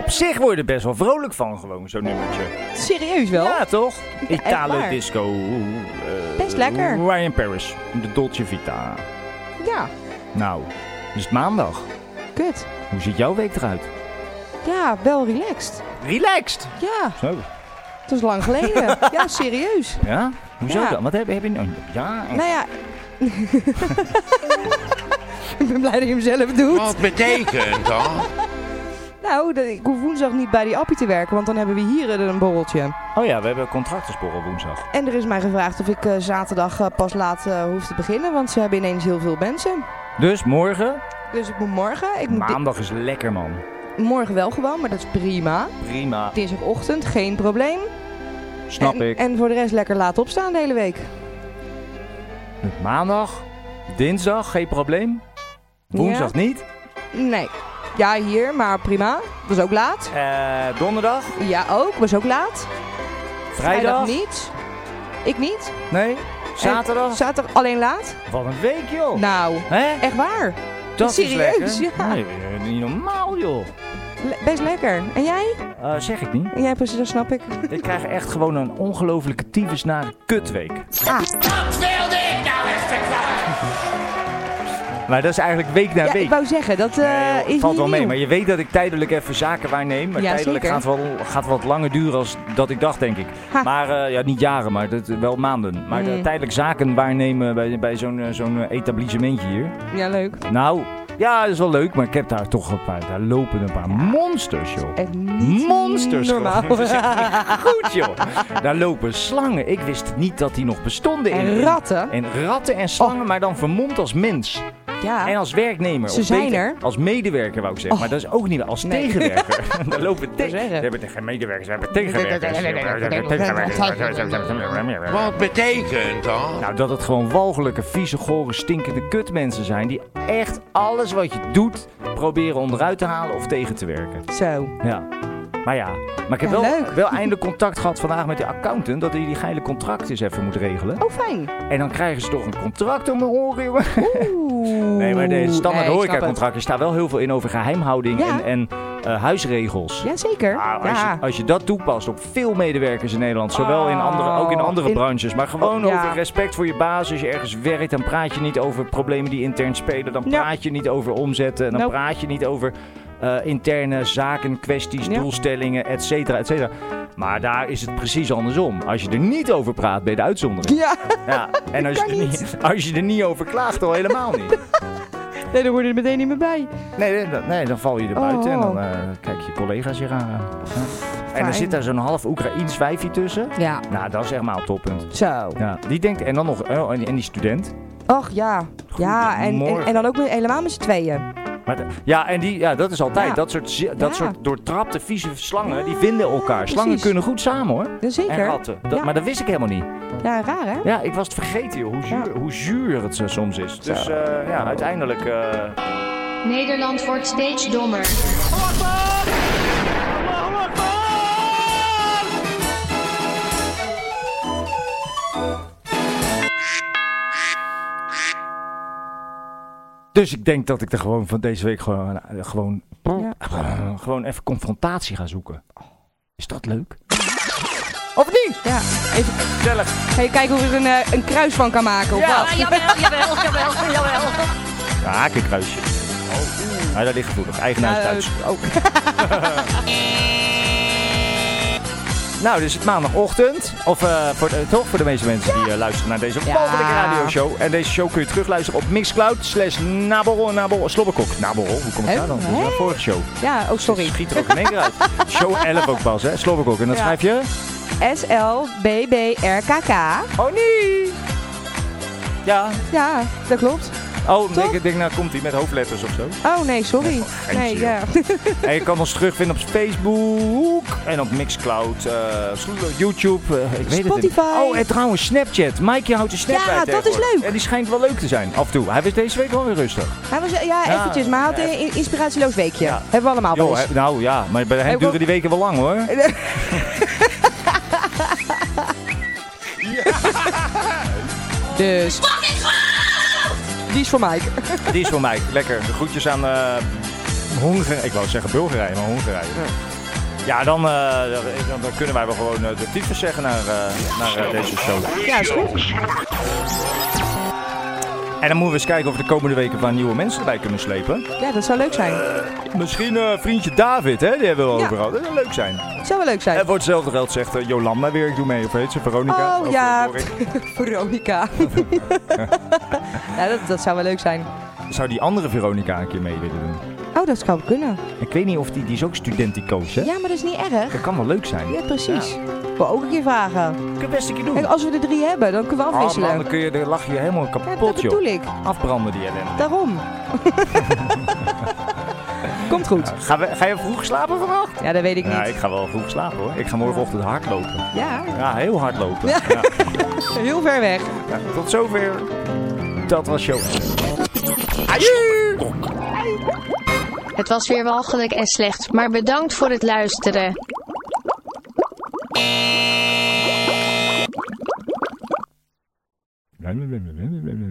zich word je er best wel vrolijk van, gewoon zo'n nummertje. Serieus wel? Ja, toch? echt Italo waar. Disco. eh, Best lekker. Ryan Paris, de Dolce Vita. Ja, Nou, is het maandag. kut. Hoe ziet jouw week eruit? Ja, wel relaxed. Relaxed? Ja, Zo. dat is (laughs) lang geleden. ja, serieus. Ja? Hoezo Ja. dan? Wat heb, heb je nou? Ja, en- Nou ja. (laughs) ik ben blij dat je hem zelf doet. Wat betekent dat? Nou, dat- ik hoef woensdag niet bij die appie te werken, want dan hebben we hier eh, een borreltje. Oh ja, we hebben contractensporen woensdag. En er is mij gevraagd of ik eh, zaterdag eh, pas laat eh, hoef te beginnen, want ze hebben ineens heel veel mensen. Dus morgen? Dus ik moet morgen. Ik moet di- Maandag is lekker, man. morgen wel gewoon, maar dat is prima. Prima. Dinsdagochtend, geen probleem. Ah. Snap en, ik. En voor de rest lekker laat opstaan de hele week. Maandag, dinsdag, geen probleem. Woensdag niet. Nee. Ja, hier, maar prima. Was ook laat. Eh, donderdag, Ja, ook. Was ook laat. vrijdag. niet. Ik niet. Nee. Zaterdag. En zaterdag alleen laat. Wat een week, joh. Nou, Hè? echt waar. Dat serieus, is lekker. ja. Nee, eh, niet normaal, joh. Le- best lekker. En jij? Eh, zeg ik niet. En jij precies, dat snap ik. Ik krijg echt gewoon een ongelofelijke tyfus naar kutweek. Ah, Dat wilde ik nou echt Maar dat is eigenlijk week na ja, week. ik wou zeggen, dat eh, Nee, joh, is valt niet wel mee, nieuw. maar je weet dat ik tijdelijk even zaken waarneem. Maar Ja, tijdelijk zeker. gaat wel, gaat wat langer duren als dat ik dacht, denk ik. Ha. Maar eh, ja, niet jaren, maar dat, wel maanden. Maar eh, Mm. tijdelijk zaken waarnemen bij, bij zo'n eh, zo'n eh, etablissementje hier. Ja, leuk. Nou, ja, dat is wel leuk, maar ik heb daar toch een paar, daar lopen een paar monsters, joh. Echt niet Monsters normaal. gewoon. Dat is echt niet goed, joh. Daar lopen slangen. Ik wist niet dat die nog bestonden. in- En in- ratten. En ratten en slangen, maar dan vermomd als mens. En Ja, als werknemer. Ze of zijn beter, er. Als medewerker wou ik zeggen. Maar dat is ook niet waar. Als Nee. tegenwerker. Daar lopen te- Ik wou zeggen. We hebben geen medewerkers, we hebben tegenwerkers. (laughs) Wat betekent dat? Nou, dat het gewoon walgelijke, vieze, gore, stinkende kutmensen zijn. Die echt alles wat je doet proberen onderuit te halen of tegen te werken. zo. Ja. Maar ja. Maar ik heb wel, Ja, leuk. wel eindelijk contact gehad vandaag met de accountant. Dat hij die geile contract eens even moet regelen. Oh, fijn. En dan krijgen ze toch een contract om de oren, jongen. Oeh. Nee, maar de standaard Nee, ik snap horecacontract, er staat wel heel veel in over geheimhouding Ja. en, en eh, huisregels. het. Jazeker. Nou, als, ja. je, als je dat toepast op veel medewerkers in Nederland, zowel in andere, ook in andere Oh, In- Oh, branches, maar gewoon Ja. over respect voor je baas. Als je ergens werkt, dan praat je niet over problemen die intern spelen. Dan Ja. praat je niet over omzetten. En dan Nope. praat je niet over eh, interne zaken, kwesties, Ja. doelstellingen, et cetera, et cetera. Maar daar is het precies andersom. Als je er niet over praat, ben je de uitzondering. Ja, Ja, (laughs) en als je, kan er niet. niet, als je er niet over klaagt, al helemaal niet. (laughs) nee, dan word je er meteen niet meer bij. Nee, nee, dan, nee, dan val je er Oh. buiten en dan eh, kijk je collega's je raar aan. Ja. En dan Fijn. zit daar zo'n half Oekraïens wijfie tussen. Ja. Nou, dat is echt maar een toppunt. Zo. Ja, die denkt, en dan nog, oh, en, en die student. Och ja. Ja, en, en, Goedemorgen. en dan ook met, helemaal met z'n tweeën. Maar de- ja, en die, ja, dat is altijd. Ja. Dat, soort, zi- dat Ja. soort doortrapte, vieze slangen, die Ja, vinden elkaar. Slangen precies. kunnen goed samen hoor. Ja, En Zeker. ratten. Dat, Ja. Maar dat wist ik helemaal niet. Ja, raar hè? Ja, ik was het vergeten joh, hoe zuur, hoe zuur het zo soms is. Dus eh, ja, uiteindelijk... eh, Nederland wordt steeds dommer. Dus ik denk dat ik er gewoon van deze week gewoon, eh, gewoon, eh, Ja. gewoon even confrontatie ga zoeken. Is dat leuk? Of niet? Ja. Even Gezellig. ga je kijken hoe ik er een, eh, een kruis van kan maken. Of Ja. wat? Ah, Jawel, jawel, jawel, jawel. Ja, ik een kruisje. Oh. Ja, dat ligt gevoelig. Eigenaar is Ja, thuis. eh, ook. (laughs) Nou, dus het maandagochtend. Of eh, voor, de- toch voor de meeste mensen die eh, luisteren naar deze Ja. mogelijke radioshow. En deze show kun je terugluisteren op Mixcloud slash Naborrel en Naborrel. Slobberkok. Naborrel, hoe kom ik Hè? daar dan? Dat is Hè? mijn vorige show. Ja, oh sorry. Schiet er ook in één keer uit. Show 11 ook pas, hè? Slobberkok. En dat Ja. schrijf je? S-L-B-B-R-K-K. Oh nee! Ja, Ja, dat klopt. Oh, Toch? ik- ik denk, nou komt hij met hoofdletters of zo. Oh nee, sorry. geintje, Nee, ja. (laughs) en je kan ons terugvinden op Facebook en op Mixcloud, eh, YouTube. eh, ik weet Spotify. Het niet. oh, en trouwens Snapchat. Mike, je houdt een Snapchat Ja, dat is leuk. En die schijnt wel leuk te zijn, af en toe. Hij was deze week wel weer rustig. (laughs) Hij was, eh, ja, Ja, eventjes, maar hij had een in- inspiratieloos weekje. Ja. Hebben we allemaal Yo, Ah, wel eens. hè, nou ja, maar bij hem Hij duren die weken wel lang (laughs) hoor. Dus. Die is voor Mike. Die is voor mij. Lekker. De groetjes aan eh Hongarije. Ik wou zeggen Bulgarije, maar Hongarije. Ja, dan, eh, dan, dan kunnen wij wel gewoon eh, de tyfus zeggen naar, eh, naar eh, deze show. Ja, is goed. En dan moeten we eens kijken of we de komende weken wat nieuwe mensen erbij kunnen slepen. Ja, dat zou leuk zijn. Misschien eh, vriendje David, hè? Die hebben we al Ja. overal. Dat zou leuk zijn. Het zou wel leuk zijn. En voor hetzelfde geld zegt eh, Jolanda weer, ik doe mee. Of heet ze Veronica? Oh Of, ja, eh, Dorik. (laughs) Veronica. (laughs) ja, dat, dat zou wel leuk zijn. Zou die andere Veronica een keer mee willen doen? Oh, dat zou kunnen. Ik weet niet of die, die is ook student die coach, hè? Ja, maar dat is niet erg. Dat kan wel leuk zijn. Ja, precies. We ook een keer vragen. Kun je best een keer doen. Kijk, als we er drie hebben, dan kunnen we Oh afwisselen. man, dan, kun je, dan lach je helemaal kapot, dat bedoel joh. ik. Afbranden die ellende. (laughs) Daarom. Komt goed. Ga, we, ga je vroeg slapen vannacht? Ja, dat weet ik niet. Ja, ik ga wel vroeg slapen, hoor. Ik ga morgenochtend hardlopen. Ja. Ja, heel hard lopen. Ja. Ja. Heel ver weg. Ja, tot zover. Dat was show. Het was weer walgelijk en slecht, maar bedankt voor het luisteren. Ajoe!